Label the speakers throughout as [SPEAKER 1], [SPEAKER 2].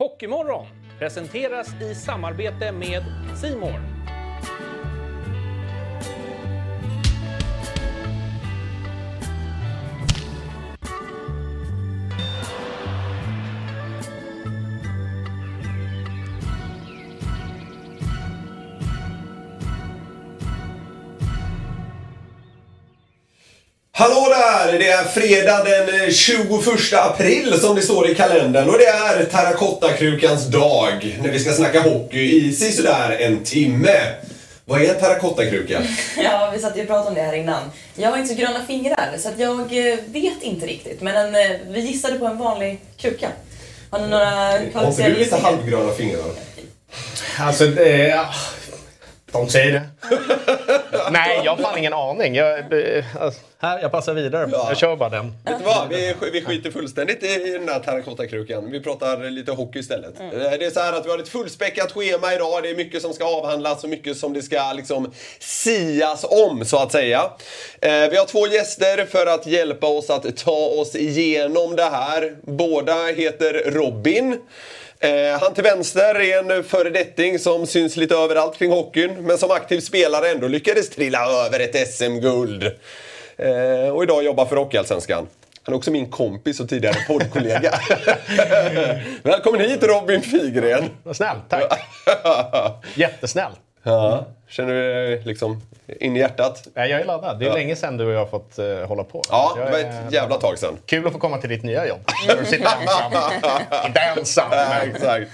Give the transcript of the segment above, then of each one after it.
[SPEAKER 1] Hockeymorgon presenteras i samarbete med Simor.
[SPEAKER 2] Hallå där! Det är fredag den eh, 21 april som det står i kalendern och det är terrakottakrukans dag när vi ska snacka hockey i sisådär en timme. Vad är en terrakottakruka?
[SPEAKER 3] Ja, vi satt ju och pratade om det här innan. Jag har inte så gröna fingrar så att jag eh, vet inte riktigt. Men en, eh, vi gissade på en vanlig kruka. Har ni några
[SPEAKER 2] Mm. Har inte du lite
[SPEAKER 3] gissningar?
[SPEAKER 2] halvgröna fingrar?
[SPEAKER 4] Alltså, det, ja, de säger det. Nej, jag har fan ingen aning. Jag, eh, alltså, här, jag passar vidare.
[SPEAKER 2] Ja.
[SPEAKER 4] Jag kör bara den.
[SPEAKER 2] Vet du vad? Vi, sk- vi skiter fullständigt i i den här terrakottakrukan. Vi pratar lite hockey istället. Eh, Det är så här att vi har ett fullspäckat schema idag. Det är mycket som ska avhandlas och mycket som det ska liksom sias om, så att säga. Eh, Vi har två gäster för att hjälpa oss att ta oss igenom det här. Båda heter Robin. Eh, Han till vänster är en föredetting som syns lite överallt kring hockeyn, men som aktiv spelare ändå lyckades trilla över ett SM-guld. Eh, Och idag jobbar för Hockeyallsvenskan. Han är också min kompis och tidigare poddkollega. Välkommen hit Robin Figren!
[SPEAKER 4] Snällt, tack. Jättesnäll.
[SPEAKER 2] ja, känner du dig liksom in i hjärtat?
[SPEAKER 4] Nej, Jag är laddad. Det är länge sedan du och jag har fått eh, hålla på.
[SPEAKER 2] Ja,
[SPEAKER 4] jag
[SPEAKER 2] det var
[SPEAKER 4] är-
[SPEAKER 2] ett jävla tag sedan.
[SPEAKER 4] Kul att få komma till ditt nya jobb. Där du sitter ensam. Inte ensam,
[SPEAKER 2] Ja,
[SPEAKER 4] men...
[SPEAKER 2] exakt.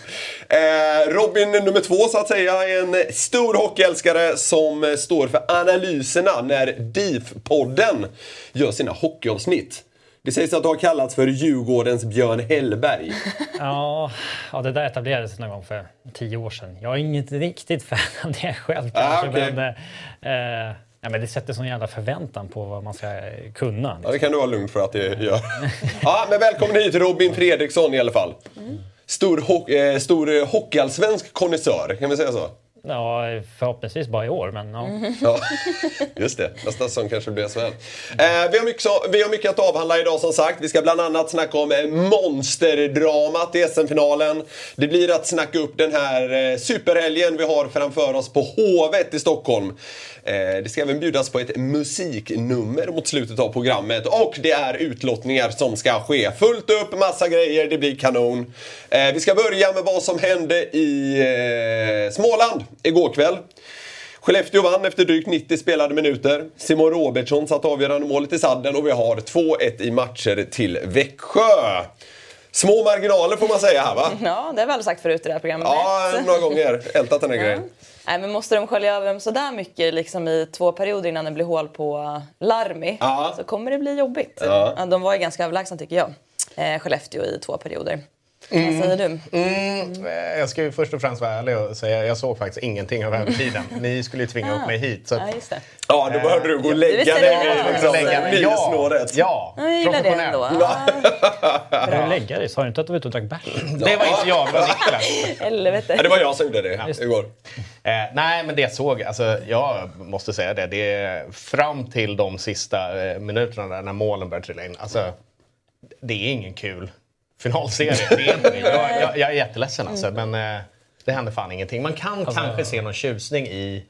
[SPEAKER 2] Eh, Robin nummer två så att säga är en stor hockeyälskare som eh, står för analyserna när DIF-podden gör sina hockeyavsnitt. Det sägs att du har kallats för Djurgårdens Björn Hellberg.
[SPEAKER 5] Ja, ja, det där etablerades någon gång för tio år sedan. Jag är inget riktigt fan av det själv kanske,
[SPEAKER 2] Ah, okej.
[SPEAKER 5] men, eh, eh, nej, men det sätter sån jävla förväntan på vad man ska eh, kunna.
[SPEAKER 2] Ja,
[SPEAKER 5] Liksom.
[SPEAKER 2] det kan du vara lugn för att det gör. Ja, men välkommen hit Robin Fredriksson i alla fall. Stor, ho- eh, stor eh, hockeyallsvensk konnässör, kan vi säga så?
[SPEAKER 5] Ja, förhoppningsvis bara i år, men ja.
[SPEAKER 2] Ja, just det. Nästa säsong kanske blir SHL. Eh, vi, har mycket, så- vi har mycket att avhandla idag som sagt. Vi ska bland annat snacka om eh, monsterdramat i SM-finalen. Det blir att snacka upp den här eh, superhelgen vi har framför oss på Hovet i Stockholm. Eh, det ska även bjudas på ett musiknummer mot slutet av programmet och det är utlottningar som ska ske. Fullt upp, massa grejer, det blir kanon. Eh, vi ska börja med vad som hände i eh, Småland igår kväll. Skellefteå vann efter drygt 90 spelade minuter. Simon Robertsson satte avgörande målet i sadden och vi har 2-1 i matcher till Växjö. Små marginaler får man säga här va?
[SPEAKER 3] Ja, det har vi väl sagt förut i det här programmet.
[SPEAKER 2] Ja, några gånger. Ältat den här grejen.
[SPEAKER 3] Nej, men måste de skölja över dem sådär mycket liksom i två perioder innan det blir hål på eh, Larmi
[SPEAKER 2] Ja.
[SPEAKER 3] så kommer det bli jobbigt.
[SPEAKER 2] Ja.
[SPEAKER 3] Ja, de var ju ganska överlägsna tycker jag, eh, Skellefteå i två perioder. Vad säger du?
[SPEAKER 4] Mm, eh, jag ska ju först och främst vara ärlig och säga jag såg faktiskt ingenting av övertiden. Ni skulle ju tvinga upp mig hit. Så att,
[SPEAKER 3] Ah. Ja, just det.
[SPEAKER 2] Eh, Ja, då behövde du gå och lägga
[SPEAKER 3] visste
[SPEAKER 2] dig
[SPEAKER 3] det.
[SPEAKER 2] vid liksom,
[SPEAKER 4] Lägga mig. Ja,
[SPEAKER 2] nysnåret.
[SPEAKER 4] ja,
[SPEAKER 3] Ja, Jag gillar det
[SPEAKER 4] professionell.
[SPEAKER 3] ändå.
[SPEAKER 5] Har du lägga dig? Sa du inte att du var ute och drack bärs?
[SPEAKER 4] Det var inte jag, det var Niklas.
[SPEAKER 3] Helvete.
[SPEAKER 2] Ja, det var jag som gjorde det igår.
[SPEAKER 4] Eh, nej, men det såg alltså, jag. måste säga det. det är fram till de sista eh, minuterna där när målen börjar trilla in. Alltså, det är ingen kul finalserie. Det är inte det. Jag, jag, jag är jätteledsen alltså, men eh, det händer fan ingenting. Man kan kanske se någon tjusning i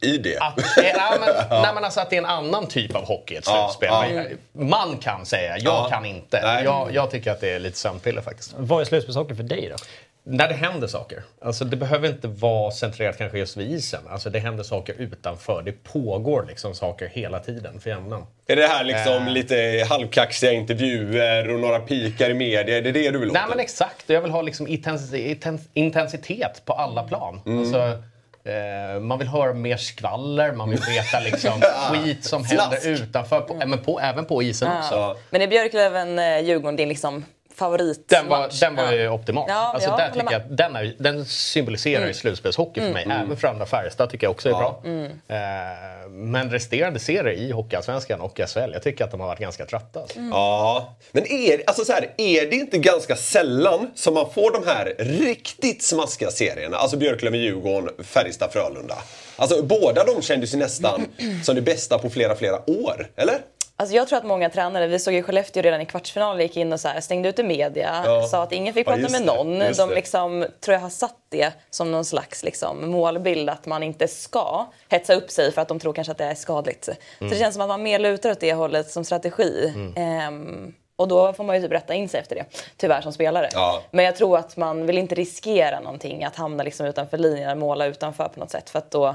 [SPEAKER 2] I det.
[SPEAKER 4] att, eh, nej, men, nej, men alltså, att det är en annan typ av hockey i ett
[SPEAKER 2] Ja,
[SPEAKER 4] slutspel.
[SPEAKER 2] ja.
[SPEAKER 4] Man, man kan säga, jag
[SPEAKER 2] Ja.
[SPEAKER 4] kan inte.
[SPEAKER 2] Nej.
[SPEAKER 4] Jag, jag tycker att det är lite sömnpiller faktiskt
[SPEAKER 5] Vad är slutspelshockey för dig då?
[SPEAKER 4] när det händer saker. Alltså det behöver inte vara centrerat kanske just vid isen. Alltså det händer saker utanför. Det pågår liksom saker hela tiden för jämnan.
[SPEAKER 2] Är det här liksom lite halvkaxiga intervjuer och några pikar i media? Är det det du vill åt?
[SPEAKER 4] Nej men exakt. Jag vill ha liksom intensi- intens- intensitet på alla plan.
[SPEAKER 2] Mm.
[SPEAKER 4] Alltså, eh, man vill höra mer skvaller, man vill veta liksom skit som
[SPEAKER 2] Slask. Mm.
[SPEAKER 4] händer utanför, på, men på, även på isen också.
[SPEAKER 2] Ja.
[SPEAKER 3] Men är Björklöven-Djurgården din liksom favorit?
[SPEAKER 4] Den var, den var ju
[SPEAKER 3] Ja.
[SPEAKER 4] optimal.
[SPEAKER 3] Ja,
[SPEAKER 4] alltså,
[SPEAKER 3] jag
[SPEAKER 4] där
[SPEAKER 3] håller
[SPEAKER 4] tycker jag
[SPEAKER 3] med. Mm.
[SPEAKER 4] att den, är, den symboliserar ju slutspelshockey för mig. Även för andra Färjestad tycker jag också är bra. Eh, men resterande serier i Hockeyallsvenskan och SHL, jag tycker att de har varit ganska trötta. Alltså.
[SPEAKER 3] Mm.
[SPEAKER 2] Ja, men är, alltså så här, är det inte ganska sällan som man får de här riktigt smaskiga serierna? Alltså Björklöven-Djurgården, Färjestad-Frölunda. Alltså båda de kändes ju nästan som det bästa på flera, flera år. Eller?
[SPEAKER 3] Alltså jag tror att många tränare, vi såg i Skellefteå redan i kvartsfinalen, gick in och så här, stängde ute media,
[SPEAKER 2] Ja.
[SPEAKER 3] sa att ingen fick
[SPEAKER 2] Ja,
[SPEAKER 3] prata
[SPEAKER 2] just
[SPEAKER 3] med
[SPEAKER 2] det,
[SPEAKER 3] någon.
[SPEAKER 2] just
[SPEAKER 3] De
[SPEAKER 2] det.
[SPEAKER 3] liksom, tror jag har satt det som någon slags liksom, målbild att man inte ska hetsa upp sig för att de tror kanske att det är skadligt.
[SPEAKER 2] Mm.
[SPEAKER 3] Så det känns som att man mer lutar åt det hållet som strategi. Ehm, och då får man ju typ rätta in sig efter det, tyvärr som spelare.
[SPEAKER 2] Ja.
[SPEAKER 3] Men jag tror att man vill inte riskera någonting, att hamna liksom utanför linjen, måla utanför på något sätt. För att då,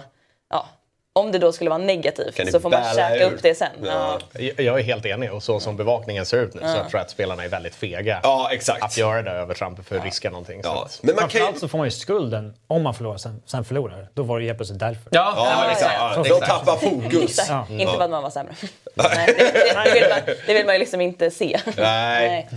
[SPEAKER 3] ja, om det då skulle vara
[SPEAKER 2] Kan
[SPEAKER 3] negativt
[SPEAKER 2] ni
[SPEAKER 3] så får man
[SPEAKER 2] bära
[SPEAKER 3] käka
[SPEAKER 2] ur?
[SPEAKER 3] upp det sen.
[SPEAKER 2] Ja.
[SPEAKER 3] Ja.
[SPEAKER 4] Jag jag är helt enig och så som bevakningen ser ut nu så jag tror jag att spelarna är väldigt fega
[SPEAKER 2] Ja, exakt.
[SPEAKER 4] att göra det övertrampet för att riska någonting. Så
[SPEAKER 2] Ja.
[SPEAKER 4] att,
[SPEAKER 2] Men man kan ju...
[SPEAKER 5] Framförallt så får man ju skulden om man förlorar, sen, sen förlorar. Då var det ju helt plötsligt därför.
[SPEAKER 4] ja,
[SPEAKER 2] Ja,
[SPEAKER 4] men
[SPEAKER 2] exakt. Ja, de tappar fokus.
[SPEAKER 3] Exakt. Inte för att man var sämre. Nej, det, det, det, vill man, det vill man ju liksom inte se.
[SPEAKER 2] Nej.
[SPEAKER 3] Nej.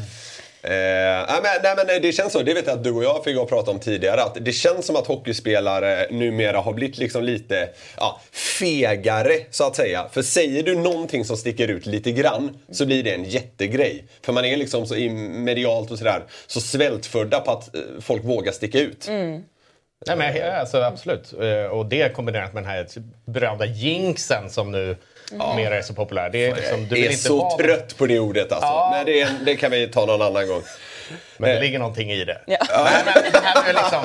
[SPEAKER 2] Eh, nej, men, nej, men eh, det känns så. Det vet jag att du och jag fick gå och prata om tidigare. Att det känns som att hockeyspelare numera har blivit liksom lite ja, fegare, så att säga. För säger du någonting som sticker ut lite grann så blir det en jättegrej. För man är liksom så i- medialt och sådär så svältfödda på att eh, folk vågar sticka ut.
[SPEAKER 3] Mm.
[SPEAKER 4] Nej, men, ja, alltså, absolut. Eh, Och det kombinerat med den här berömda jinxen som nu mer är så populär. Det är, liksom, du
[SPEAKER 2] Jag är
[SPEAKER 4] vill inte
[SPEAKER 2] så
[SPEAKER 4] vara-
[SPEAKER 2] trött på det ordet alltså. Nej, det, är, det kan vi ta någon annan gång.
[SPEAKER 4] Men
[SPEAKER 2] Eh.
[SPEAKER 4] det ligger någonting i det.
[SPEAKER 3] Ja.
[SPEAKER 4] Nej, men, det här med liksom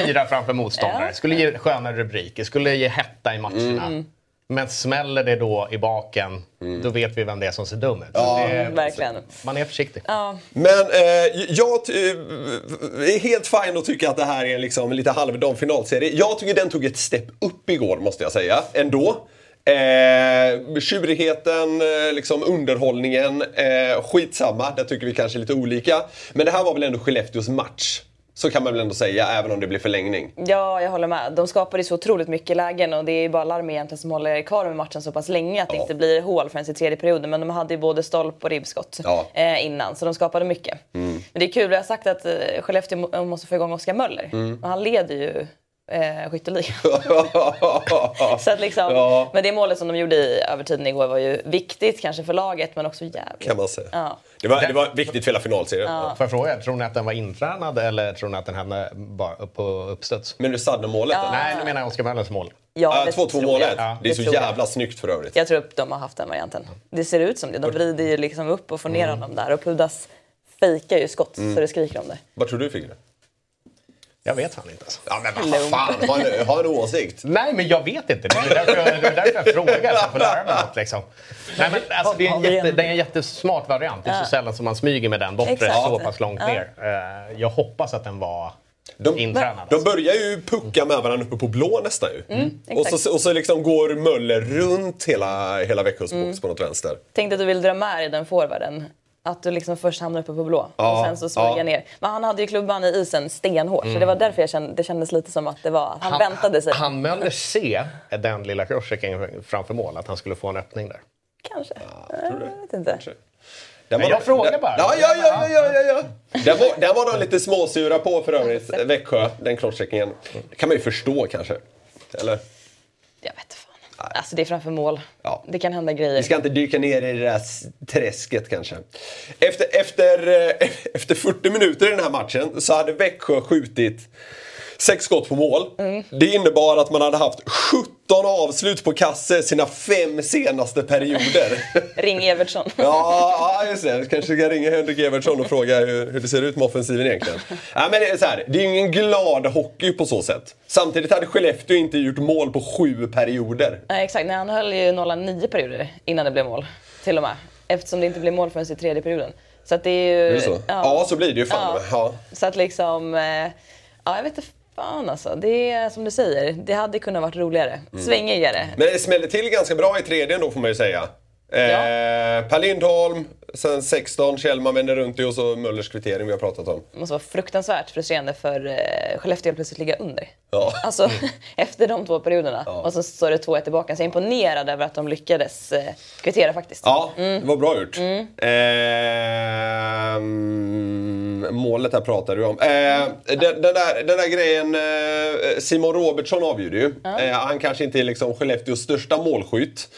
[SPEAKER 4] fira framför motståndare. Skulle ge sköna rubriker, skulle ge hetta i
[SPEAKER 2] Mm.
[SPEAKER 4] matcherna. Men smäller det då i baken, då vet vi vem det är som ser dum ut. Så det,
[SPEAKER 3] Verkligen.
[SPEAKER 4] man är försiktig.
[SPEAKER 2] Men eh, jag ty- eh, är helt fin att tycka att det här är liksom en lite halvdam finalserie. Jag tycker den tog ett steg upp igår, måste jag säga. Ändå. Eh, tjurigheten, eh, liksom underhållningen, eh, skitsamma. Där tycker vi kanske lite olika. Men det här var väl ändå Skellefteås match. Så kan man väl ändå säga, även om det blir förlängning.
[SPEAKER 3] Ja, jag håller med. De skapade ju så otroligt mycket lägen och det är ju bara Larmi egentligen som håller kvar med matchen så pass länge att det
[SPEAKER 2] Ja.
[SPEAKER 3] inte blir hål förrän i tredje perioden. Men de hade ju både stolp och ribbskott
[SPEAKER 2] Ja.
[SPEAKER 3] eh, innan, så de skapade mycket. Men det är kul, jag har sagt att eh, Skellefteå må- måste få igång Oskar Möller och han leder ju eh, skytteligan. Så att liksom,
[SPEAKER 2] Ja.
[SPEAKER 3] Men det målet som de gjorde i övertiden igår var ju viktigt kanske för laget men också jävligt.
[SPEAKER 2] kan man säga.
[SPEAKER 3] Ja.
[SPEAKER 2] Det, var, det var viktigt för hela finalserien.
[SPEAKER 4] Får jag fråga, tror ni att den var intränad eller tror ni att den hamnade bara upp på uppstuds?
[SPEAKER 2] Men du Sadden-målet? eller?
[SPEAKER 4] Nej, nu menar jag Oskar Möllers mål.
[SPEAKER 3] Ja,
[SPEAKER 2] Ja,
[SPEAKER 3] det
[SPEAKER 2] 2-2
[SPEAKER 3] tror jag.
[SPEAKER 2] målet.
[SPEAKER 3] Ja,
[SPEAKER 2] Det är så
[SPEAKER 3] tror jag.
[SPEAKER 2] jävla snyggt för övrigt.
[SPEAKER 3] Jag tror att de har haft den varianten. Det ser ut som det. De vrider ju liksom upp och får ner
[SPEAKER 2] Mm.
[SPEAKER 3] honom där. Och Pudas fejkar ju skott så det skriker om det.
[SPEAKER 2] Vad tror du Figge?
[SPEAKER 4] Jag vet han inte. Alltså.
[SPEAKER 2] Ja men vad fan, har en, har en åsikt.
[SPEAKER 4] Nej, men jag vet inte. Det är därför jag, det är därför jag frågar. Så jag får lära mig något. Liksom. Nej, men, alltså, det, är en
[SPEAKER 5] Har vi
[SPEAKER 4] jätte,
[SPEAKER 5] en-
[SPEAKER 4] det är en jättesmart variant. Det är så sällan som man smyger med den bortre
[SPEAKER 3] Exakt.
[SPEAKER 4] så pass långt ner. Eh, Jag hoppas att den var
[SPEAKER 2] De-
[SPEAKER 4] intränad.
[SPEAKER 2] De börjar ju pucka med varandra uppe på blå nästan ju. och
[SPEAKER 3] Mm, exakt.
[SPEAKER 2] så, och så liksom går Möller runt hela, hela Växjös
[SPEAKER 3] Mm.
[SPEAKER 2] box på något vänster.
[SPEAKER 3] Tänkte att du vill dra med dig den forwarden. Att du liksom först hamnar uppe på blå
[SPEAKER 2] Ja,
[SPEAKER 3] och sen så smyger
[SPEAKER 2] ja. Mm.
[SPEAKER 3] ner. Men han hade ju klubban i isen stenhårt. Så det var därför jag kände, det kändes lite som att det var att han, väntade sig.
[SPEAKER 4] Han Möller se den lilla crosschecken framför mål, att han skulle få en öppning där.
[SPEAKER 3] Kanske.
[SPEAKER 2] tror du det?
[SPEAKER 3] jag vet inte.
[SPEAKER 2] Där
[SPEAKER 4] Men jag
[SPEAKER 2] de-
[SPEAKER 4] frågar
[SPEAKER 2] där-
[SPEAKER 4] bara.
[SPEAKER 2] Ja, ja, ja, ja, ja, ja. Där, var, där var de lite småsura på för övrigt, Växjö, den crosscheckingen. Det kan man ju förstå kanske. Eller?
[SPEAKER 3] Jag vet inte fan. Alltså det är framför mål.
[SPEAKER 2] Ja.
[SPEAKER 3] Det kan hända grejer.
[SPEAKER 2] Vi ska inte dyka ner i det där s- träsket kanske. Efter, efter, eh, efter 40 minuter i den här matchen så hade Växjö skjutit sex skott på mål. Det innebar att man hade haft 17 avslut på kasse sina fem senaste perioder.
[SPEAKER 3] Ring Evertsson.
[SPEAKER 2] Ja, ja, just det. Vi kanske ska ringa Henrik Evertsson och fråga hur, hur det ser ut med offensiven egentligen. Ja, men det, är så här, det är ju ingen glad hockey på så sätt. Samtidigt hade Skellefteå inte gjort mål på sju perioder.
[SPEAKER 3] Nej, exakt. Nej, han höll ju nollan nio perioder innan det blev mål. Till och med. Eftersom det inte blev mål förrän i tredje perioden. Så att det är ju...
[SPEAKER 2] Är det så? Ja. så blir det ju fan.
[SPEAKER 3] Ja.
[SPEAKER 2] Ja.
[SPEAKER 3] Så att liksom... eh, Ja, jag vet inte fan alltså. Det är som du säger. Det hade kunnat varit roligare.
[SPEAKER 2] Mm.
[SPEAKER 3] Svängigare.
[SPEAKER 2] Men det smällde till ganska bra i tredje då får man ju säga. Eh, per Lindholm, sen 16, Kjellman vänder runt det och så Möllers kvittering vi har pratat om.
[SPEAKER 3] Det måste vara fruktansvärt frustrerande för eh, Skellefteå att plötsligt ligga under.
[SPEAKER 2] Ja.
[SPEAKER 3] Alltså efter de två perioderna. Och så står det 2-1 tillbaka. Så jag är imponerad över att de lyckades eh, kvittera faktiskt.
[SPEAKER 2] Ja, det var bra gjort. Ehm, målet här pratade du om. Ehm, den, den, där, den där grejen, eh, Simon Robertsson avgjorde ju. Eh, han kanske inte är liksom Skellefteås största målskytt.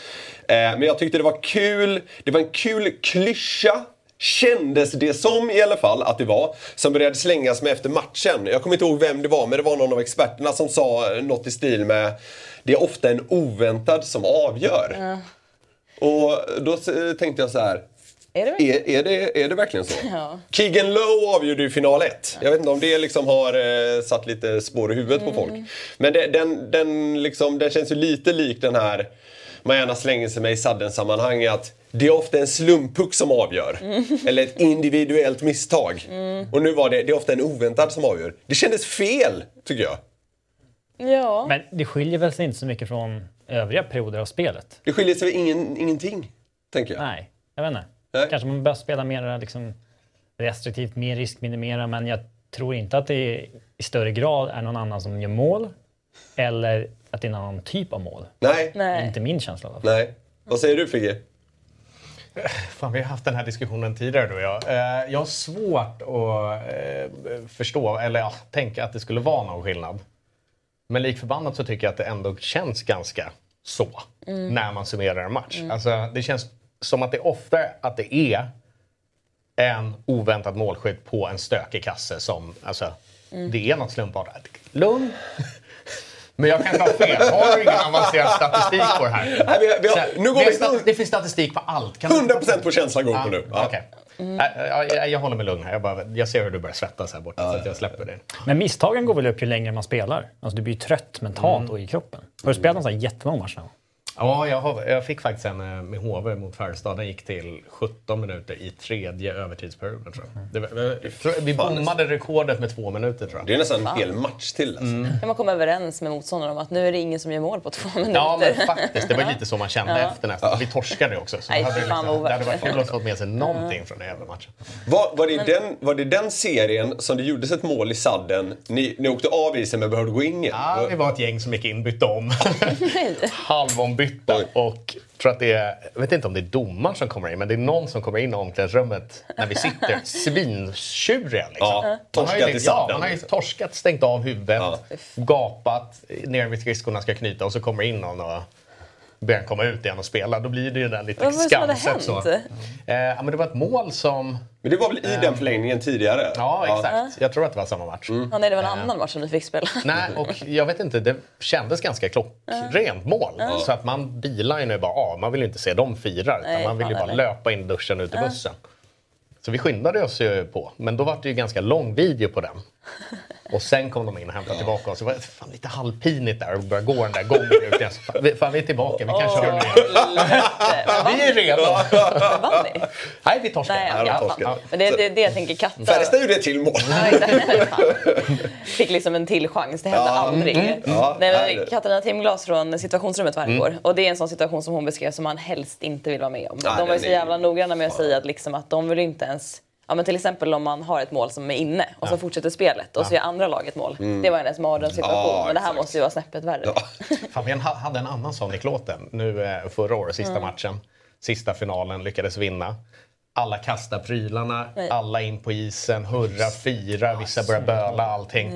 [SPEAKER 2] Eh, men jag tyckte det var kul. Det var en kul klyscha. Kändes det som i alla fall att det var. Som började slängas med efter matchen. Jag kommer inte ihåg vem det var, men det var någon av experterna som sa något i stil med Det är ofta en oväntad som avgör. Och då eh, tänkte jag så här.
[SPEAKER 3] Är det verkligen?
[SPEAKER 2] Är, är, det, är det verkligen så?
[SPEAKER 3] Ja.
[SPEAKER 2] Keegan Lowe avgjorde ju final 1. Jag vet inte om det liksom har eh, satt lite spår i huvudet
[SPEAKER 3] Mm.
[SPEAKER 2] på folk. Men det, den, den, liksom, den känns ju lite lik den här man gärna slänger sig med i sadden-sammanhang att det är ofta en slumpuck som avgör.
[SPEAKER 3] Mm.
[SPEAKER 2] Eller ett individuellt misstag. Och nu var det, det är ofta en oväntad som avgör. Det kändes fel, tycker jag.
[SPEAKER 3] Ja.
[SPEAKER 5] Men det skiljer väl sig inte så mycket från övriga perioder av spelet?
[SPEAKER 2] Det skiljer sig ingen, ingenting, tänker jag.
[SPEAKER 5] Nej, jag vet inte.
[SPEAKER 2] Nej.
[SPEAKER 5] Kanske man bör spela mer liksom, restriktivt, mer riskminimera, men jag tror inte att det i större grad är någon annan som gör mål eller att det är en annan typ av mål.
[SPEAKER 2] Nej. Nej.
[SPEAKER 5] Det är
[SPEAKER 3] Nej.
[SPEAKER 5] inte min känsla i alla fall.
[SPEAKER 2] Nej. Vad säger du, Figge?
[SPEAKER 4] Fan, vi har haft den här diskussionen tidigare du och jag. Eh, jag har svårt att eh, förstå, eller ja, tänka att det skulle vara någon skillnad. Men lik förbannat så tycker jag att det ändå känns ganska så. När man summerar en match. Alltså, det känns som att det är ofta att det är en oväntad målskytt på en stökig kasse som, alltså, det är något slumpartat. Lugn! Men jag kanske har fel. Har du ingen avancerad statistik på det här?
[SPEAKER 2] Nej, vi, vi
[SPEAKER 4] Så
[SPEAKER 2] har,
[SPEAKER 4] här,
[SPEAKER 2] nu går
[SPEAKER 4] det,
[SPEAKER 2] vi...
[SPEAKER 4] är sta- det finns statistik på allt. Kan du-
[SPEAKER 2] 100% på känslan går vi på nu. Ja.
[SPEAKER 4] Okej.
[SPEAKER 3] Mm.
[SPEAKER 4] Nej, Jag, jag, jag håller mig lugn här. Jag, bara, jag ser hur du börjar svettas här borta, så att jag släpper det.
[SPEAKER 5] Men misstagen går väl upp ju längre man spelar? Alltså du blir ju trött mentalt och i kroppen. Har du spelat någon sån här jättelång match någon gång?
[SPEAKER 4] Ja, jag, har, jag fick faktiskt en eh, med HV mot Färjestad. Den gick till 17 minuter i tredje övertidsperioden, tror jag. Det, var- jag tror- vi bommade rekordet med två minuter, tror jag.
[SPEAKER 2] Det är nästan en hel match till. Alltså.
[SPEAKER 4] Mm.
[SPEAKER 3] Kan man komma överens med motståndaren om att nu är det ingen som gör mål på två minuter?
[SPEAKER 4] Ja, men faktiskt. Det var lite så man kände efter nästan. Vi torskade också. Så
[SPEAKER 3] Nej,
[SPEAKER 4] det hade,
[SPEAKER 3] fan vad
[SPEAKER 4] liksom, det hade varit
[SPEAKER 3] overkligt.
[SPEAKER 4] kul att få med sig någonting från den jävla matchen.
[SPEAKER 2] Var, var, det den, var det den serien som det gjordes ett mål i sadden? Ni, ni åkte av isen men behövde gå in igen?
[SPEAKER 4] Ja, vi var ett gäng som gick in, bytte om.
[SPEAKER 3] Nej.
[SPEAKER 4] halvombytta
[SPEAKER 2] Oj.
[SPEAKER 4] och tror att det är, jag vet inte om det är domaren som kommer in, men det är någon som kommer in i omklädningsrummet när vi sitter svintjuriga. Liksom.
[SPEAKER 2] Ja,
[SPEAKER 4] Man har ju
[SPEAKER 2] torskat i
[SPEAKER 4] liksom-
[SPEAKER 2] sadden,
[SPEAKER 4] Ja, man har ju
[SPEAKER 2] liksom.
[SPEAKER 4] torskat, stängt av huvudet,
[SPEAKER 2] Ja.
[SPEAKER 4] gapat, ner vid skridskorna ska knyta och så kommer in någon och ber han komma ut igen och spela. Då blir det ju den lite
[SPEAKER 3] Vad var det som hade
[SPEAKER 4] skamset. Så.
[SPEAKER 3] hänt?
[SPEAKER 4] Eh, ja, men det var ett mål som...
[SPEAKER 2] Men det var väl i den förlängningen tidigare?
[SPEAKER 4] Ja, exakt. Jag tror att det var samma
[SPEAKER 2] Mm.
[SPEAKER 4] match.
[SPEAKER 3] Ja, nej, det var en annan match som du fick spela.
[SPEAKER 4] Nej, och jag vet inte, det kändes ganska klockrent mål. Så att man bilar ju nu bara av, man vill ju inte se dem fira utan
[SPEAKER 3] Nej,
[SPEAKER 4] man vill ju
[SPEAKER 3] fan,
[SPEAKER 4] bara
[SPEAKER 3] eller?
[SPEAKER 4] löpa in i duschen ut i bussen. Så vi skyndade oss ju på, men då var det ju ganska lång video på den. Och sen kom de in och hämtade tillbaka oss. Det var fan lite halvpinigt där att börja gå den där gången. ut igen. Så, fan, vi- Fan, vi är tillbaka, vi kanske gör det. Vi är redo!
[SPEAKER 3] Vann ni?
[SPEAKER 4] Nej, vi torskade.
[SPEAKER 3] Nej,
[SPEAKER 4] Ja,
[SPEAKER 3] okej,
[SPEAKER 2] de
[SPEAKER 3] jag
[SPEAKER 2] torskade.
[SPEAKER 3] fattar. Men det är det, det jag tänker katta.
[SPEAKER 2] Färjestad gjorde ett till mål.
[SPEAKER 3] Ja, exakt. Fan. Fick liksom en till chans, det hände aldrig.
[SPEAKER 2] Mm. Ja,
[SPEAKER 3] Nej,
[SPEAKER 2] nej, Mm.
[SPEAKER 3] men
[SPEAKER 2] det-
[SPEAKER 3] Katarina Timglas från situationsrummet varje år. Och det är en sån situation som hon beskrev som man helst inte vill vara med om. de var ju
[SPEAKER 2] den
[SPEAKER 3] så
[SPEAKER 2] är-
[SPEAKER 3] jävla noggranna med att säga att, liksom, att de vill inte ens Ja, men till exempel om man har ett mål som är inne och så fortsätter spelet och så gör andra laget mål. Det var hennes mardrömssituation.
[SPEAKER 2] Mm. Ja,
[SPEAKER 3] men det här
[SPEAKER 2] exakt.
[SPEAKER 3] måste ju vara snäppet värre.
[SPEAKER 4] Fan, vi ha- hade en annan sån i klåten nu eh, förra året, sista matchen. Sista finalen, lyckades vinna. Alla kastar prylarna,
[SPEAKER 3] Nej.
[SPEAKER 4] alla in på isen, hurra, fira, vissa börjar böla, allting.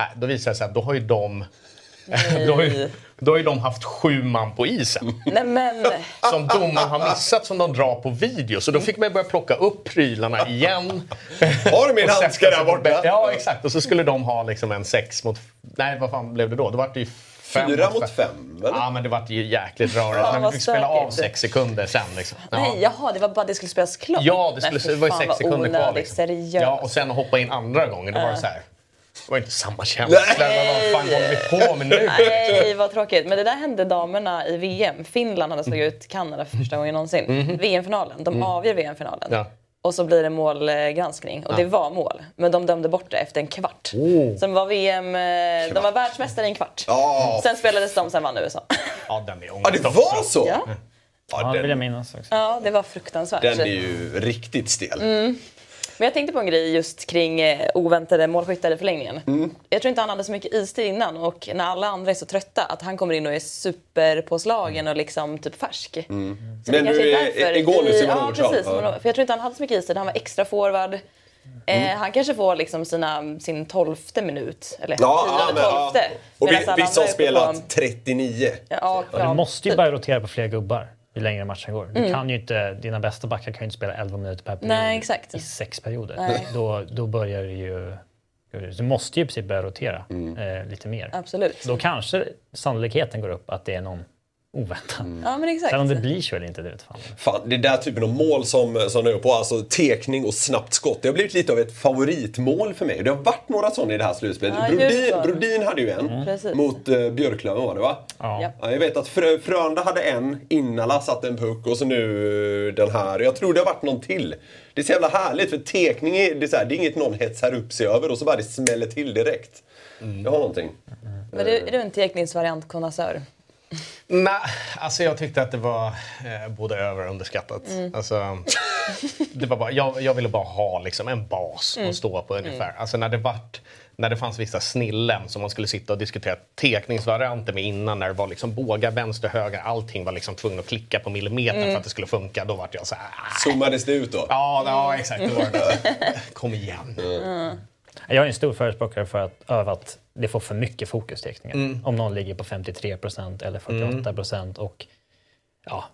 [SPEAKER 4] Äh, då visar det sig att då har ju de, då har ju, då har ju de haft sju man på isen.
[SPEAKER 3] Eh, Nej men,
[SPEAKER 4] Som domaren har missat, som de drar på video. Så då fick man börja plocka upp prylarna igen.
[SPEAKER 2] Har du min
[SPEAKER 4] Och sätta
[SPEAKER 2] handske
[SPEAKER 4] sig
[SPEAKER 2] där
[SPEAKER 4] på bä-
[SPEAKER 2] borta?
[SPEAKER 4] Ja, exakt. Och så skulle de ha liksom en sex mot... Nej, vad fan blev det då? Då var det ju fem
[SPEAKER 2] Fyra mot fem, eller?
[SPEAKER 4] Ja, men det var ju jäkligt rörigt.
[SPEAKER 3] Fan,
[SPEAKER 4] men vi
[SPEAKER 3] vad
[SPEAKER 4] fick spela av
[SPEAKER 3] stökigt.
[SPEAKER 4] sex sekunder sen. Liksom. Ja.
[SPEAKER 3] nej jaha, det var bara att det skulle spelas klart.
[SPEAKER 4] Ja, det,
[SPEAKER 3] Nej,
[SPEAKER 4] skulle,
[SPEAKER 3] fy
[SPEAKER 4] det var ju
[SPEAKER 3] fan,
[SPEAKER 4] sex
[SPEAKER 3] vad
[SPEAKER 4] sekunder kvar.
[SPEAKER 3] onödigt,
[SPEAKER 4] Liksom.
[SPEAKER 3] Seriöst.
[SPEAKER 4] Ja, och sen hoppa in andra gången, då var det så här. Det var ju inte samma känsla. Vad fan håller vi på med nu?
[SPEAKER 3] Nej, vad tråkigt. Men det där hände damerna i VM. Finland hade slagit ut Kanada för första gången någonsin.
[SPEAKER 2] Mhm.
[SPEAKER 3] VM-finalen.
[SPEAKER 2] Mm.
[SPEAKER 3] De avgör VM-finalen.
[SPEAKER 4] Ja.
[SPEAKER 3] Och så blir det målgranskning. Och det var mål. Men de dömde bort det efter en kvart. Sen var VM... eh, De var världsmästare i en kvart.
[SPEAKER 2] Oh. Ja.
[SPEAKER 3] Sen spelades de, sen vann USA.
[SPEAKER 4] Ja, den är
[SPEAKER 2] Ja, det var så?
[SPEAKER 3] Ja.
[SPEAKER 5] Ja,
[SPEAKER 2] Ja,
[SPEAKER 5] det vill jag
[SPEAKER 2] den,
[SPEAKER 5] minnas också.
[SPEAKER 3] Ja, det var fruktansvärt.
[SPEAKER 2] den är ju riktigt stel.
[SPEAKER 4] Mm.
[SPEAKER 3] Men jag tänkte på en grej just kring eh, oväntade målskyttar i förlängningen.
[SPEAKER 2] Mm.
[SPEAKER 3] Jag tror inte han hade så mycket istid innan och när alla andra är så trötta att han kommer in och är superpåslagen och liksom typ färsk. Så
[SPEAKER 2] Mm. Men
[SPEAKER 3] det kanske
[SPEAKER 2] nu
[SPEAKER 3] är
[SPEAKER 2] är-
[SPEAKER 3] därför
[SPEAKER 2] igår nu
[SPEAKER 3] i-
[SPEAKER 2] Simon
[SPEAKER 3] Ja,
[SPEAKER 2] Robertsson.
[SPEAKER 3] precis.
[SPEAKER 2] Ja.
[SPEAKER 3] Simon Robertsson. För jag tror inte han hade så mycket istid. Han var extra forward. Eh,
[SPEAKER 2] Mm.
[SPEAKER 3] han kanske får liksom sina, sin tolfte minut. Eller tionde, tolfte.
[SPEAKER 2] Och
[SPEAKER 3] Medan
[SPEAKER 2] vi,
[SPEAKER 3] alla
[SPEAKER 2] vissa har
[SPEAKER 3] andra är uppe på-
[SPEAKER 2] spelat 39.
[SPEAKER 3] Ja,
[SPEAKER 5] Och du
[SPEAKER 3] ja, Mm.
[SPEAKER 5] måste ju börja rotera på fler gubbar ju längre matchen går. Du kan ju inte, dina bästa backar kan ju inte spela 11 minuter per period
[SPEAKER 3] Nej, exakt.
[SPEAKER 5] i sex perioder. Då, då börjar det ju... Du måste ju i princip börja rotera eh, lite mer.
[SPEAKER 3] Absolut.
[SPEAKER 5] Då kanske sannolikheten går upp att det är någon oväntat.
[SPEAKER 3] Ja, men exakt.
[SPEAKER 5] Sen om det blir så eller inte, det vet fan.
[SPEAKER 2] Fan, det är där typen av mål som, som du är på, alltså tekning och snabbt skott. Det har blivit lite av ett favoritmål för mig. Det har varit några sådana i det här slutspelet.
[SPEAKER 3] Ja,
[SPEAKER 2] Brodin,
[SPEAKER 3] Djurgården.
[SPEAKER 2] Brodin hade ju en
[SPEAKER 3] Precis.
[SPEAKER 2] mot eh, Björklöven var det va?
[SPEAKER 5] Ja.
[SPEAKER 3] Ja.
[SPEAKER 2] Ja, jag vet att Frö, Frölunda hade en, Innala satte en puck och så nu eh, den här. Jag tror det har varit någon till. Det är så jävla härligt för tekning är, det är, så här, det är inget någon hetsar upp sig över och så bara det smäller till direkt. Jag har någonting.
[SPEAKER 3] Men du, är du en teknisk variantkonnässör?
[SPEAKER 4] Nej, alltså jag tyckte att det var eh, både över och underskattat. Alltså, det var bara, jag, jag ville bara ha liksom, en bas att stå på ungefär. Alltså, när, det vart, när det fanns vissa snillen som man skulle sitta och diskutera teckningsvarianter med innan, när det var liksom bågar, vänster, höger, allting var liksom tvungen att klicka på millimetern för att det skulle funka. Då vart jag så här... "Ah,
[SPEAKER 2] Zoomades det ut då?
[SPEAKER 4] Ja, ja exakt. Det var det. Kom igen.
[SPEAKER 5] Jag är en stor förespråkare för att öva att det får för mycket fokus teckningar. Om någon ligger på 53 procent eller 48 procent. och ja,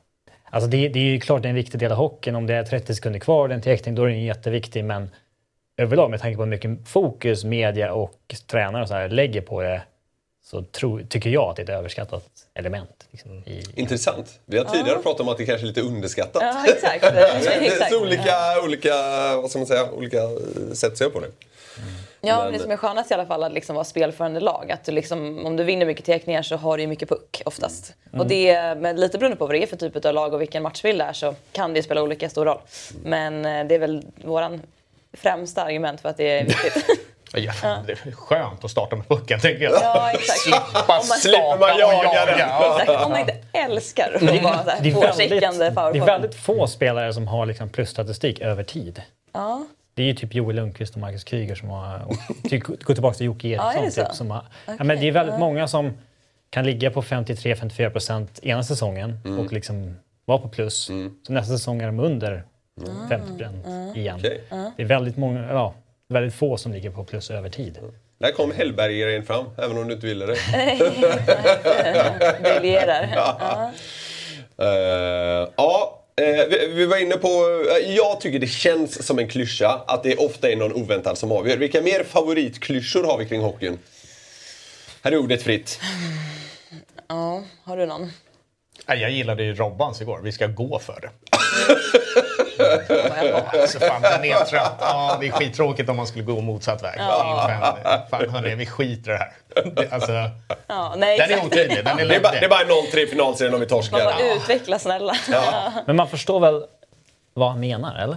[SPEAKER 5] alltså det, det är ju klart det är en viktig del av hockeyn. Om det är 30 sekunder kvar den teckning, då är den ju jätteviktig. Men överlag med tanke på hur mycket fokus media och tränare och så här lägger på det så tro, tycker jag att det är ett överskattat element. Liksom, i,
[SPEAKER 2] Intressant. Vi har tidigare pratat om att det kanske är lite underskattat.
[SPEAKER 3] Ja, exakt.
[SPEAKER 2] Det finns
[SPEAKER 3] exakt.
[SPEAKER 2] olika, olika, vad ska man säga, olika eh, sätt att se på det.
[SPEAKER 3] Ja, men
[SPEAKER 2] Men-
[SPEAKER 3] det som är skönast i alla fall att liksom vara spelförande lag. Att du liksom, om du vinner mycket teckningar så har du ju mycket puck oftast.
[SPEAKER 5] Mm.
[SPEAKER 3] Och det, men lite beroende på vad det är för typ av lag och vilken matchbild det är så kan det ju spela olika stor roll. Men eh, det är väl våran främsta argument för att det är viktigt.
[SPEAKER 4] Ja, fan, det är skönt att starta med pucken, tänker jag.
[SPEAKER 3] ja, exakt.
[SPEAKER 4] Bara
[SPEAKER 3] Om man-
[SPEAKER 4] starta
[SPEAKER 2] man
[SPEAKER 4] och
[SPEAKER 2] jaga den.
[SPEAKER 4] Ja.
[SPEAKER 3] Exakt, om man inte älskar att vara så
[SPEAKER 5] Det
[SPEAKER 3] här
[SPEAKER 5] är, väldigt,
[SPEAKER 3] påskickande
[SPEAKER 5] det är
[SPEAKER 3] powerforward.
[SPEAKER 5] väldigt få spelare som har liksom plusstatistik över tid.
[SPEAKER 3] Ja.
[SPEAKER 5] Det är ju typ Joel Lundqvist och Marcus Kryger som har... Och typ, gå tillbaka till Jocke
[SPEAKER 3] Ja, är
[SPEAKER 5] Eriksson.
[SPEAKER 3] det så?
[SPEAKER 5] typ, som har, ja, men det är väldigt många som kan ligga på 53-54 procent ena säsongen och liksom vara på plus. Så nästa säsong är de under
[SPEAKER 3] Mm.
[SPEAKER 5] 50 procent igen.
[SPEAKER 2] Okej.
[SPEAKER 5] Det är väldigt, många, ja, väldigt få som ligger på plus över tid.
[SPEAKER 2] Där kom Hellberg-grejen fram, även om du inte ville det.
[SPEAKER 3] Briljerar.
[SPEAKER 2] Eh, ja, eh, vi, vi var inne på... eh, jag tycker det känns som en klyscha att det ofta är någon oväntad som avgör. Vilka mer favoritklyschor har vi kring hockeyn? Här är ordet fritt.
[SPEAKER 3] Ja, har du någon?
[SPEAKER 4] Nej, Jag gillade ju Robbans igår. Vi ska gå för det.
[SPEAKER 3] Vad jag har.
[SPEAKER 4] Alltså fan, den är trött. Ja, det är skittråkigt om man skulle gå motsatt väg. Men, fan hörni, vi skiter i det här. Det, alltså,
[SPEAKER 3] Ja, nej,
[SPEAKER 4] den är
[SPEAKER 3] exakt.
[SPEAKER 4] otydlig. Den är
[SPEAKER 2] Det är, bara- det är
[SPEAKER 4] luddig.
[SPEAKER 2] bara 0-3 i finalserien om vi torskar.
[SPEAKER 3] Man bara, utveckla snälla.
[SPEAKER 5] Men man förstår väl vad han menar, eller?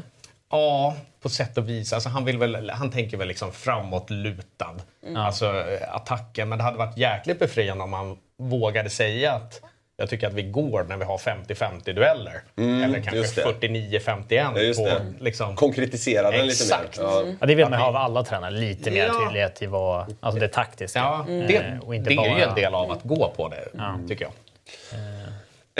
[SPEAKER 4] Ja, på sätt och vis. Alltså, han, vill väl, han tänker väl liksom framåtlutad.
[SPEAKER 2] Mm.
[SPEAKER 4] Alltså eh, attacken. Men det hade varit jäkligt befriande om han vågade säga att jag tycker att vi går när vi har 50-50 dueller. Eller
[SPEAKER 2] Mm, just det.
[SPEAKER 4] kanske 49-51.
[SPEAKER 2] Ja, just
[SPEAKER 4] på,
[SPEAKER 2] det.
[SPEAKER 4] liksom,
[SPEAKER 2] Konkretisera den lite mer.
[SPEAKER 4] Exakt.
[SPEAKER 2] Ja.
[SPEAKER 5] Ja, det vill man ha av alla tränare, lite mer
[SPEAKER 4] Ja.
[SPEAKER 5] tydlighet i vad, alltså det taktiska.
[SPEAKER 4] ja, det,
[SPEAKER 5] Eh, och inte
[SPEAKER 4] det är ju
[SPEAKER 5] bara-
[SPEAKER 4] en del av att gå på det, tycker jag.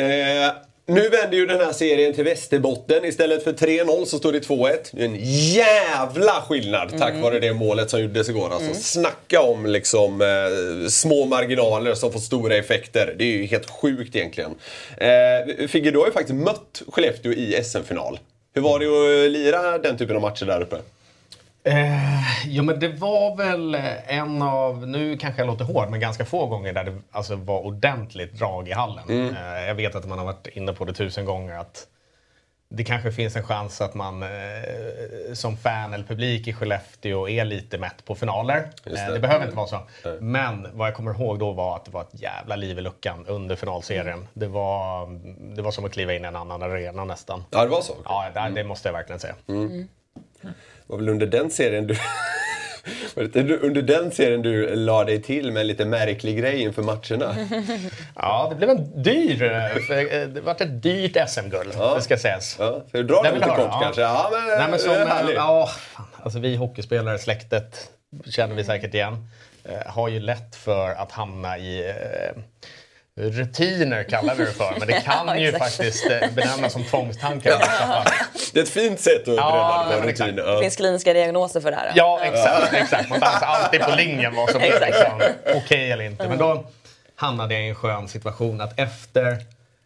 [SPEAKER 2] Eh, nu vänder ju den här serien till Västerbotten. Istället för 3-0 så står det 2-1. Det är en jävla skillnad tack vare det målet som gjordes igår. Alltså, Snacka om liksom, eh, små marginaler som får stora effekter. Det är ju helt sjukt egentligen. Eh, Figge, du har ju faktiskt mött Skellefteå i SM-final. Hur var det att lira den typen av matcher där uppe?
[SPEAKER 4] Eh, jo, men det var väl en av, nu kanske jag låter hård, men ganska få gånger där det alltså, var ordentligt drag i hallen.
[SPEAKER 2] Mm.
[SPEAKER 4] Eh, jag vet att man har varit inne på det tusen gånger att det kanske finns en chans att man eh, som fan eller publik i Skellefteå är lite mätt på finaler.
[SPEAKER 2] Just
[SPEAKER 4] Eh,
[SPEAKER 2] det.
[SPEAKER 4] det behöver inte vara så. Men vad jag kommer ihåg då var att det var ett jävla liv i luckan under finalserien.
[SPEAKER 2] Mm.
[SPEAKER 4] Det, var, det var som att kliva in i en annan arena nästan.
[SPEAKER 2] Ja, det var så.
[SPEAKER 4] Ja, det, det måste jag verkligen säga.
[SPEAKER 2] Det var väl under den serien du... var det inte under den serien du la dig till med en lite märklig grej inför matcherna?
[SPEAKER 4] Ja, det blev en dyr... eh, för, eh, Det vart ett dyrt SM-guld, det ska sägas.
[SPEAKER 2] Ja, ska du dra den
[SPEAKER 4] vill
[SPEAKER 2] lite
[SPEAKER 4] jag
[SPEAKER 2] kort
[SPEAKER 4] höra, ja.
[SPEAKER 2] kanske? Ja, men,
[SPEAKER 4] Nej, men som,
[SPEAKER 2] det är
[SPEAKER 4] eh,
[SPEAKER 2] härligt.
[SPEAKER 4] ja, fan, alltså, vi hockeyspelare, släktet, känner vi säkert igen, eh, har ju lätt för att hamna i eh, rutiner, kallar vi det för. Men det kan
[SPEAKER 3] Ja,
[SPEAKER 4] ju
[SPEAKER 3] exakt.
[SPEAKER 4] faktiskt eh, benämnas som tvångstankar. i vissa fall.
[SPEAKER 2] Det är ett fint sätt att
[SPEAKER 4] Ja,
[SPEAKER 2] upprätthålla
[SPEAKER 4] men
[SPEAKER 2] rutiner.
[SPEAKER 3] Det
[SPEAKER 2] Ja.
[SPEAKER 3] finns kliniska diagnoser för det här.
[SPEAKER 4] Ja, exakt. exakt. Man dansar alltid på linjen vad som är
[SPEAKER 3] Exakt.
[SPEAKER 4] liksom, okej eller inte. Men då hamnade jag i en skön situation att efter...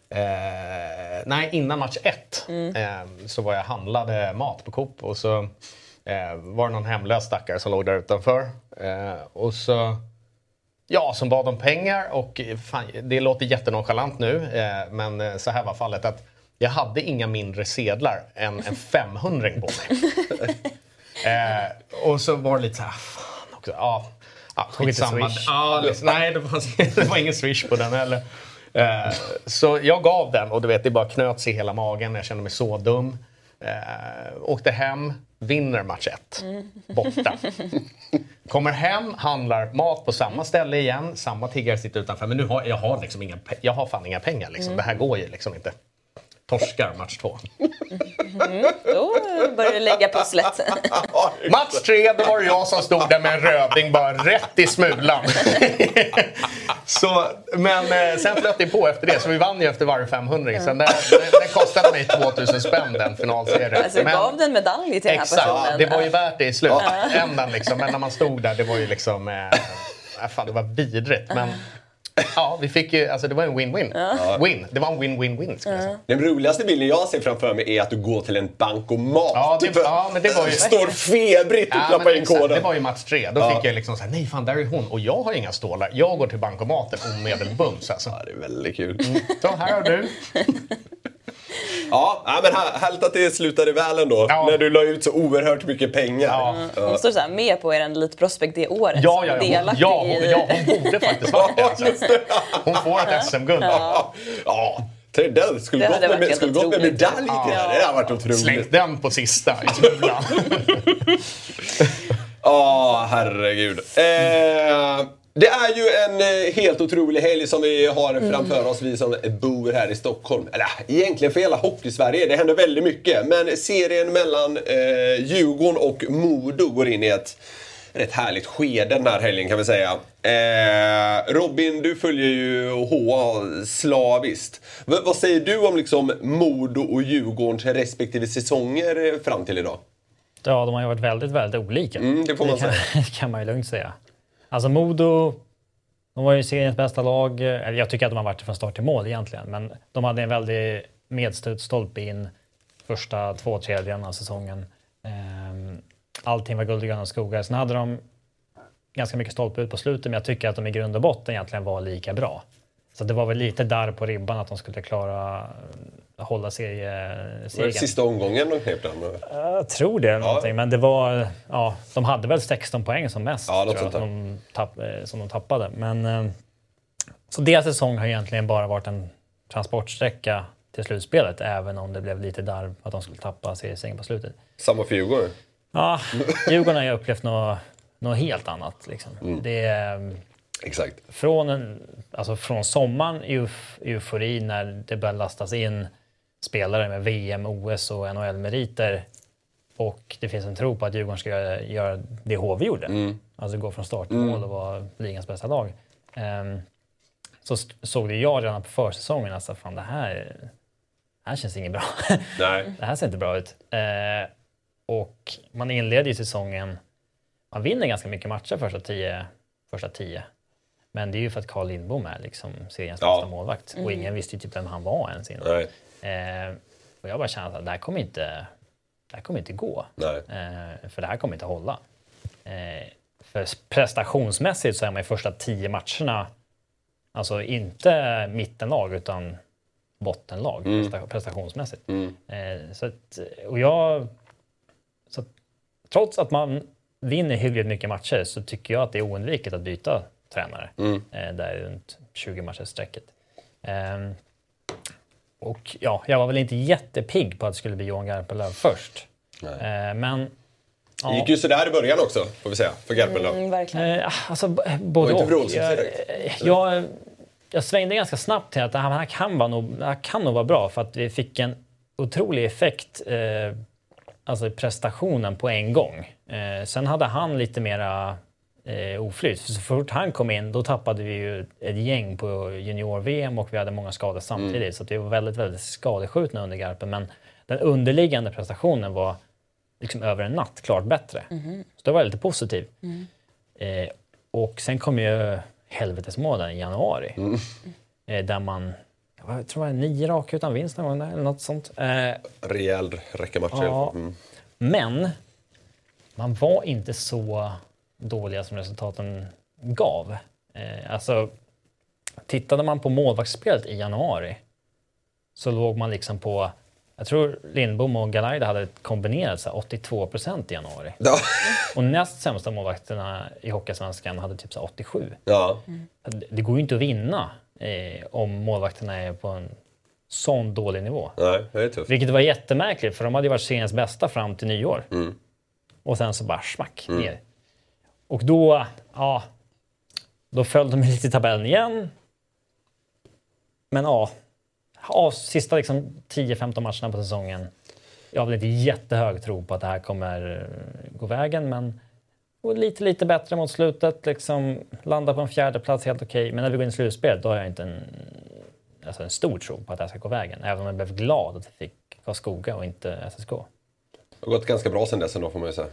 [SPEAKER 4] Eh, nej, innan match ett eh, så var jag handlade mat på Coop och så eh, var det någon hemlös stackare som låg där utanför. Eh, och så Ja, som bad om pengar och eh, fan, det låter jättenonchalant nu, eh, men eh, så här var fallet att jag hade inga mindre sedlar än en 500 på mig. eh, och så var det lite så här, fan också. Ja, ja
[SPEAKER 5] inte
[SPEAKER 4] skitsamma.
[SPEAKER 5] Swish. Alltså.
[SPEAKER 4] Ja, liksom, nej, det fanns, det var ingen swish på den heller. Eh, så jag gav den och du vet, det bara knöts i hela magen. Jag kände mig så dum. Eh, åkte hem, vinner match 1. Borta. Kommer hem, handlar mat på samma ställe igen. Samma tiggare sitter utanför. Men nu har jag har liksom inga, pe- jag har fan inga pengar. Liksom.
[SPEAKER 3] Mm.
[SPEAKER 4] Det här går ju liksom inte. Torskar match två.
[SPEAKER 3] Då börjar du lägga pusslet. Alltså,
[SPEAKER 4] Match tre, då var det jag som stod där med en röding bara rätt i smulan. så, men eh, sen flöt det på efter det, så vi vann ju efter varje 500.
[SPEAKER 3] Mm.
[SPEAKER 4] Sen den, den kostade mig 2000 spänn den finalserien.
[SPEAKER 3] Alltså,
[SPEAKER 4] Men-
[SPEAKER 3] gav den medalj till den här
[SPEAKER 4] Exakt,
[SPEAKER 3] personen.
[SPEAKER 4] det var ju värt det i slutändan. Liksom. Men när man stod där, det var ju liksom... Eh, äh, fan, det var vidrigt. Men ja, vi fick ju, alltså, det var en win-win. Win. Det var en win-win-win skulle jag säga.
[SPEAKER 2] Den roligaste bilden jag ser framför mig är att du går till en bankomat. typ
[SPEAKER 4] Ja, det-
[SPEAKER 2] För-
[SPEAKER 4] ja, men det var ju-
[SPEAKER 2] Står febrigt och
[SPEAKER 4] Ja,
[SPEAKER 2] knappar
[SPEAKER 4] men
[SPEAKER 2] in
[SPEAKER 4] exakt.
[SPEAKER 2] koden.
[SPEAKER 4] Det var ju match tre. Då fick jag liksom såhär, nej fan där är hon och jag har inga stålar. Jag går till bankomaten omedelbums alltså.
[SPEAKER 2] Ja, det är väldigt kul.
[SPEAKER 4] Så här har du.
[SPEAKER 2] Ja, ja, men här- härligt att det slutade väl ändå.
[SPEAKER 4] Ja.
[SPEAKER 2] När du la ut så oerhört mycket pengar.
[SPEAKER 4] Ja.
[SPEAKER 3] Hon står så här med på er Elite Prospect det året.
[SPEAKER 4] Ja, ja, ja, hon,
[SPEAKER 3] Delaktig
[SPEAKER 4] ja, hon,
[SPEAKER 3] i-
[SPEAKER 4] ja, hon borde faktiskt varit det. Alltså.
[SPEAKER 2] Just det.
[SPEAKER 4] Hon får ett SM-guld.
[SPEAKER 2] Ja. ja. Tredell skulle
[SPEAKER 3] Det
[SPEAKER 2] gått
[SPEAKER 3] hade varit
[SPEAKER 2] med,
[SPEAKER 3] helt
[SPEAKER 2] skulle gått med
[SPEAKER 3] otroligt.
[SPEAKER 2] medalj till det här. Det hade varit
[SPEAKER 4] Släng
[SPEAKER 2] otroligt.
[SPEAKER 4] den på sista i smulan.
[SPEAKER 2] Ja, herregud. Eh, det är ju en eh, helt otrolig helg som vi har framför oss, vi som bor här i Stockholm. Eller egentligen för hela Hockeysverige, det händer väldigt mycket. Men serien mellan eh, Djurgården och Modo går in i ett rätt härligt skede den här helgen kan vi säga. Eh, Robin, du följer ju HA slaviskt. V- vad säger du om liksom Modo och Djurgårdens respektive säsonger eh, fram till idag?
[SPEAKER 5] Ja, de har ju varit väldigt, väldigt olika.
[SPEAKER 2] Mm, det får man
[SPEAKER 5] kan, kan man ju lugnt säga. Alltså Modo, de var ju seriens bästa lag. Eller jag tycker att de har varit det från start till mål egentligen. Men de hade en väldig medstolpe in första två tredjedelarna av säsongen. Ehm, Allting var guld och gröna skogar. Sen hade de ganska mycket stolpe ut på slutet, men jag tycker att de i grund och botten egentligen var lika bra. Så det var väl lite där på ribban att de skulle klara eh, hålla serie,
[SPEAKER 2] Det var ju
[SPEAKER 5] segern.
[SPEAKER 2] sista omgången de knep den.
[SPEAKER 5] Jag tror det eller någonting, men det var... Ja, de hade väl 16 poäng som mest
[SPEAKER 2] Ja, något
[SPEAKER 5] tror jag,
[SPEAKER 2] sånt där.
[SPEAKER 5] som, de tapp, eh, som de tappade. Men, eh, så deras säsong har egentligen bara varit en transportsträcka till slutspelet, även om det blev lite darv att de skulle tappa seriesegern på slutet.
[SPEAKER 2] Samma för Djurgården.
[SPEAKER 5] Ja, Djurgården har ju upplevt något, något helt annat. Liksom. Det är, mm,
[SPEAKER 2] Exakt.
[SPEAKER 5] från, en, alltså från sommaren i euf- eufori när det börjar lastas in spelare med VM, OS och NHL-meriter och det finns en tro på att Djurgården ska göra, göra det HV gjorde. Alltså gå från start till mål och vara ligans bästa lag. Ehm, så s- såg det jag redan på försäsongen att fan det här, det här känns inget bra.
[SPEAKER 2] Nej.
[SPEAKER 5] det här ser inte bra ut. Eh, och man inleder ju säsongen, man vinner ganska mycket matcher första tio, första tio. Men det är ju för att Carl Lindbom är liksom seriens
[SPEAKER 2] Ja.
[SPEAKER 5] bästa målvakt och ingen visste ju typ vem han var ens innan.
[SPEAKER 2] Nej.
[SPEAKER 5] Eh, och jag bara kände att det här kommer inte, det här kommer inte gå.
[SPEAKER 2] Nej.
[SPEAKER 5] Eh, för det här kommer inte hålla. Eh, för prestationsmässigt så är man i första tio matcherna, alltså inte mittenlag utan bottenlag presta- prestationsmässigt. Eh, så att, och jag, så att, trots att man vinner hyggligt mycket matcher så tycker jag att det är oundvikligt att byta tränare. Eh, där runt 20 matcher sträcket. Ehm, och ja, jag var väl inte jättepigg på att det skulle bli Johan Garpenlöv först. Eh, men
[SPEAKER 2] Det gick ju sådär i början också, får vi säga, för Garpenlöv.
[SPEAKER 3] Mm, verkligen.
[SPEAKER 5] Eh, alltså, b- både
[SPEAKER 2] Och inte
[SPEAKER 5] och.
[SPEAKER 2] vrålsigt
[SPEAKER 5] Jag, eh,
[SPEAKER 2] direkt,
[SPEAKER 5] jag, jag svängde ganska snabbt till att han, han, kan vara nog, han kan nog vara bra för att vi fick en otrolig effekt eh, alltså i prestationen på en gång. Eh, sen hade han lite mera eh, oflyt. För Så fort han kom in då tappade vi ju ett gäng på junior-VM och vi hade många skador
[SPEAKER 2] Mm.
[SPEAKER 5] samtidigt. Så att vi var väldigt, väldigt skadeskjutna under Garpen. Men den underliggande prestationen var liksom över en natt klart bättre. Så det var lite positivt. Eh, och sen kom ju helvetesmånaden i januari. Eh, där man, jag tror det var nio raka utan vinst någon gång där, eller något sånt. Eh,
[SPEAKER 2] Rejäl räcka matcher.
[SPEAKER 5] Ja.
[SPEAKER 2] Mm.
[SPEAKER 5] men man var inte så dåliga som resultaten gav. Eh, alltså, tittade man på målvaktsspelet i januari så låg man liksom på, jag tror Lindbom och Galaida hade kombinerat så här 82 procent i januari.
[SPEAKER 2] Ja.
[SPEAKER 5] Och näst sämsta målvakterna i Hockeyallsvenskan hade typ så här 87.
[SPEAKER 2] ja.
[SPEAKER 5] Det- Det går ju inte att vinna eh, om målvakterna är på en sån dålig nivå.
[SPEAKER 2] Nej, det är tufft.
[SPEAKER 5] Vilket var jättemärkligt för de hade ju varit seriens bästa fram till nyår. Och sen så bara smack ner. Och då, ja, då föll de lite i tabellen igen. Men ja, av sista liksom 10-15 matcherna på säsongen. Jag har väl inte jättehög tro på att det här kommer eh, gå vägen, men och lite, lite bättre mot slutet. Liksom, landa på en fjärde plats helt okej. Men när vi går in i slutspelet då har jag inte en alltså en stor tro på att det här ska gå vägen. Även om jag blev glad att vi fick Karlskoga och inte SSK.
[SPEAKER 2] Det har gått ganska bra sen dess ändå får man ju säga.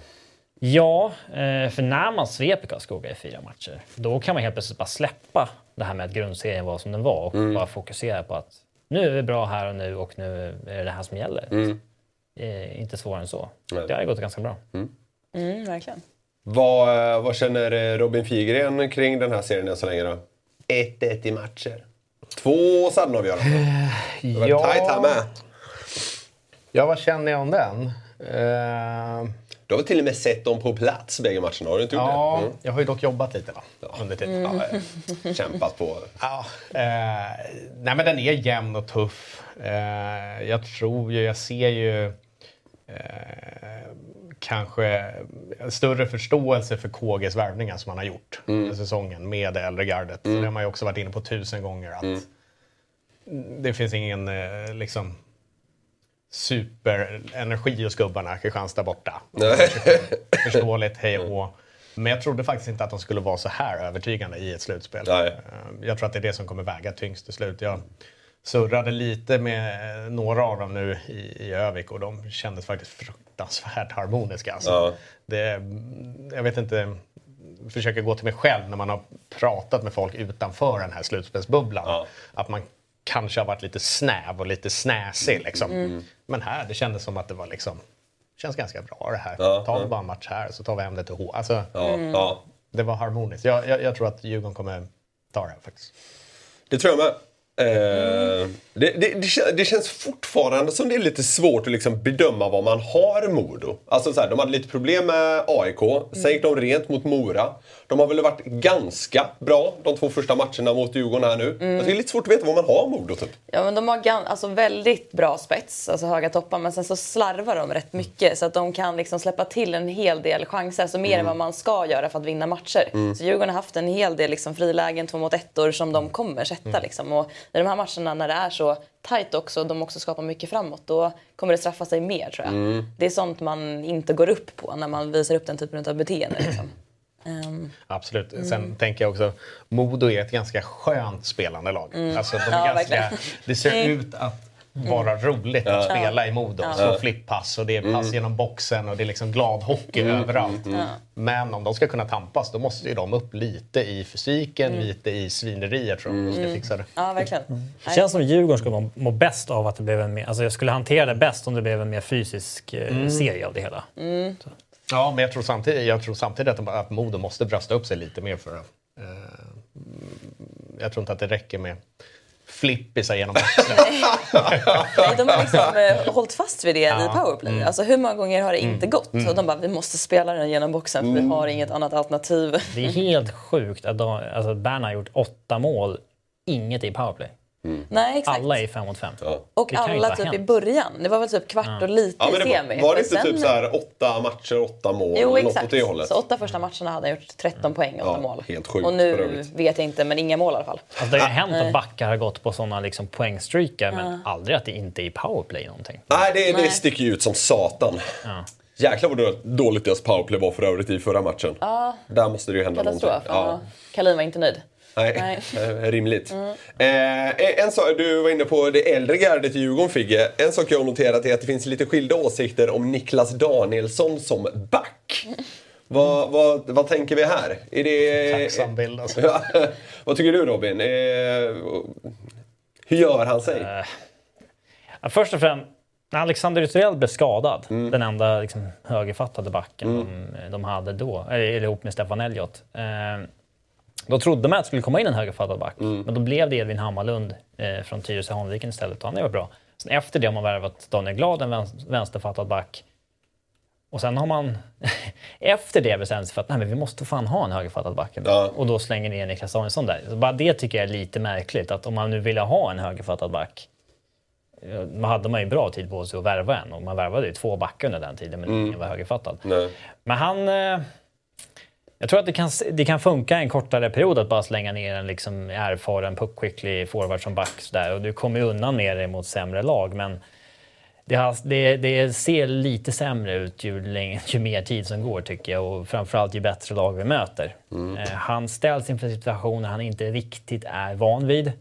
[SPEAKER 5] Ja, eh, för när man sveper Karlskoga i fyra matcher, då kan man helt plötsligt bara släppa det här med att grundserien var som den var och bara fokusera på att nu är vi bra här och nu och nu är det det här som gäller. Eh, inte svårare än så.
[SPEAKER 2] Nej.
[SPEAKER 5] Det har ju gått ganska bra.
[SPEAKER 3] Mm, verkligen.
[SPEAKER 2] Vad, eh, vad känner eh, Robin Figren kring den här serien än så länge då? 1-1 i matcher. Två suddenavgöranden. Det var ja. tajt här med.
[SPEAKER 4] ja, vad känner jag om den? Eh,
[SPEAKER 2] Du har väl till och med sett dem på plats bägge matcherna? Har du inte gjort
[SPEAKER 4] ja,
[SPEAKER 2] det? Mm.
[SPEAKER 4] jag har ju dock jobbat lite va? under tiden. Ja, eh,
[SPEAKER 2] Kämpat på.
[SPEAKER 4] Ja, eh, nej men den är jämn och tuff. Eh, jag tror ju, jag ser ju eh, kanske större förståelse för KGs värvningar som han har gjort den säsongen med det äldre gardet. Det har man ju också varit inne på tusen gånger att det finns ingen eh, liksom superenergi hos gubbarna Kristianstad borta. Förståeligt, hej och hå. Men jag trodde faktiskt inte att de skulle vara så här övertygande i ett slutspel.
[SPEAKER 2] Nej.
[SPEAKER 4] Eh, Jag tror att det är det som kommer väga tyngst till slut. Jag surrade lite med eh, några av dem nu i, i Övik och de kändes faktiskt fruktansvärt harmoniska. Alltså.
[SPEAKER 2] Ja.
[SPEAKER 4] Det, jag vet inte, försöker gå till mig själv när man har pratat med folk utanför den här slutspelsbubblan.
[SPEAKER 2] Ja.
[SPEAKER 4] Att man kanske har varit lite snäv och lite snäsig. Liksom.
[SPEAKER 2] Mm.
[SPEAKER 4] Men här, det kändes som att det var liksom, känns ganska bra det här.
[SPEAKER 2] Ja,
[SPEAKER 4] Ta
[SPEAKER 2] ja.
[SPEAKER 4] bara en match här så tar vi hem det till H. Alltså,
[SPEAKER 2] Ja, ja.
[SPEAKER 4] det var harmoniskt. Jag, jag, jag tror att Djurgården kommer ta det här faktiskt.
[SPEAKER 2] Det tror jag med. Eh,
[SPEAKER 3] Mm.
[SPEAKER 2] det, det, det, kän- det känns fortfarande som det är lite svårt att liksom bedöma vad man har Modo. Alltså så här, de hade lite problem med AIK, sen gick de rent mot Mora. De har väl varit ganska bra de två första matcherna mot Djurgården här nu.
[SPEAKER 3] Mm.
[SPEAKER 2] Jag tycker det är lite svårt att veta vad man har Modo typ.
[SPEAKER 3] Ja, men de har gan- alltså väldigt bra spets, alltså höga toppar, men sen så slarvar de rätt mycket så att de kan liksom släppa till en hel del chanser, alltså mer än vad man ska göra för att vinna matcher. Så Djurgården har haft en hel del liksom frilägen, två mot ettor som de kommer sätta. Liksom. Och i de här matcherna när det är så tajt också och de också skapar mycket framåt, då kommer det straffa sig mer tror jag. Det är sånt man inte går upp på när man visar upp den typen av beteende. Liksom. Ehm,
[SPEAKER 4] Absolut. Sen tänker jag också, Modo är ett ganska skönt spelande lag. Alltså, de är
[SPEAKER 3] Mm. Ja,
[SPEAKER 4] ganska,
[SPEAKER 3] verkligen. Mm.
[SPEAKER 4] det ser ut att vara roligt att spela i Modo. Slå flipppass och det är pass genom boxen och det är liksom glad hockey överallt.
[SPEAKER 3] Mm.
[SPEAKER 4] Men om de ska kunna tampas då måste ju de upp lite i fysiken,
[SPEAKER 3] Mm.
[SPEAKER 4] lite i svineriet tror jag de ska fixa det.
[SPEAKER 3] ja, verkligen.
[SPEAKER 5] Det känns som Djurgården skulle må, må bäst av att det blev en mer, alltså jag skulle hantera det bäst om det blev en mer fysisk eh, serie av det hela.
[SPEAKER 4] Ja, men jag tror samtidigt, jag tror samtidigt att, de, att Modo måste brösta upp sig lite mer för att, eh, Jag tror inte att det räcker med flippisar genom boxen.
[SPEAKER 3] Nej, de har liksom eh, hållit fast vid det i powerplay.
[SPEAKER 5] mm.
[SPEAKER 3] Alltså hur många gånger har det inte gått? Och de bara, vi måste spela den genom boxen för
[SPEAKER 2] Mm.
[SPEAKER 3] vi har inget annat alternativ.
[SPEAKER 5] Det är helt sjukt att, de, alltså att Bern har gjort åtta mål, inget i powerplay.
[SPEAKER 3] Nej, exakt.
[SPEAKER 5] Alla är fem mot fem.
[SPEAKER 3] och
[SPEAKER 5] det kan ju
[SPEAKER 3] alla
[SPEAKER 5] inte ha
[SPEAKER 3] typ i
[SPEAKER 5] hänt.
[SPEAKER 3] början. Det var väl typ kvart och lite
[SPEAKER 2] Ja, men
[SPEAKER 3] i
[SPEAKER 2] det
[SPEAKER 3] semi.
[SPEAKER 2] var, var det
[SPEAKER 3] Men
[SPEAKER 2] inte
[SPEAKER 3] sen-
[SPEAKER 2] typ så här åtta matcher, åtta mål?
[SPEAKER 3] Jo,
[SPEAKER 2] eller Något åt
[SPEAKER 3] exakt.
[SPEAKER 2] det hållet.
[SPEAKER 3] Så åtta första matcherna hade han gjort
[SPEAKER 5] Mm.
[SPEAKER 3] 13 poäng och åtta
[SPEAKER 2] Ja,
[SPEAKER 3] mål.
[SPEAKER 2] helt sjukt
[SPEAKER 3] och
[SPEAKER 2] för
[SPEAKER 3] nu
[SPEAKER 2] övrigt.
[SPEAKER 3] vet jag inte, men inga mål i alla fall.
[SPEAKER 5] Alltså det har ju hänt att backar har gått på sådana liksom poängstreakar men aldrig att det inte är i powerplay någonting.
[SPEAKER 2] Nej, det, det
[SPEAKER 3] Nej.
[SPEAKER 2] sticker ju ut som satan. Jäklar vad dåligt deras powerplay var för övrigt i förra matchen. Där måste det ju hända
[SPEAKER 3] Katastrof.
[SPEAKER 2] någonting.
[SPEAKER 3] Ja. Kalin var inte nöjd.
[SPEAKER 2] Nej, eh, rimligt.
[SPEAKER 3] Mm.
[SPEAKER 2] Eh, en sak, du var inne på det äldre gardet i Djurgården Figge. En sak jag har noterat är att det finns lite skilda åsikter om Niklas Danielsson som back. Vad, vad, vad tänker vi här? Är det...
[SPEAKER 4] Tacksam bild alltså.
[SPEAKER 2] Ja, vad tycker du Robin? Eh, hur gör han sig?
[SPEAKER 5] Ja, Först och främst, när Alexander Ytterell blev skadad, den enda liksom, högerfattade backen de, de hade då, eller ihop med Stefan Elliot, eh, Då trodde man att det skulle komma in en högerfattad back, men då blev det Edvin Hammarlund eh, från Tyresö Hanviken istället och han var bra. Sen efter det har man värvat Daniel Glad, en vänst- vänsterfattad back. Och sen har man efter det bestämt sig för att nej, men vi måste fan ha en högerfattad back. ändå.
[SPEAKER 2] Ja.
[SPEAKER 5] Och då slänger ni in Niklas Danielsson där. Så bara det tycker jag är lite märkligt, att om man nu ville ha en högerfattad back eh, man hade man ju bra tid på sig att värva en och man värvade ju två backar under den tiden men ingen var högerfattad.
[SPEAKER 2] Nej.
[SPEAKER 5] Men han... eh, Jag tror att det kan, det kan funka en kortare period att bara slänga ner en liksom erfaren, puckskicklig forward som back. Sådär. Och du kommer ju undan med det mot sämre lag, men det, har, det, det ser lite sämre ut ju, läng- ju mer tid som går, tycker jag. Och framförallt ju bättre lag vi möter. Eh, Han ställs inför situationer han inte riktigt är van vid.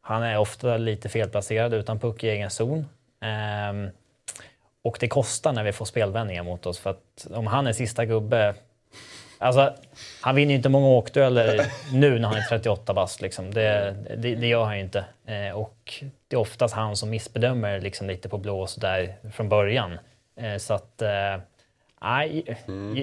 [SPEAKER 5] Han är ofta lite felplacerad utan puck i egen zon. Ehm, och det kostar när vi får spelvändningar mot oss. För att om han är sista gubbe... Alltså, han vinner ju inte många åkdueller nu när han är 38 bast. Liksom. Det, det, det gör han ju inte. Eh, och det är oftast han som missbedömer liksom, lite på blå och sådär från början. Eh, så att... Eh, nej,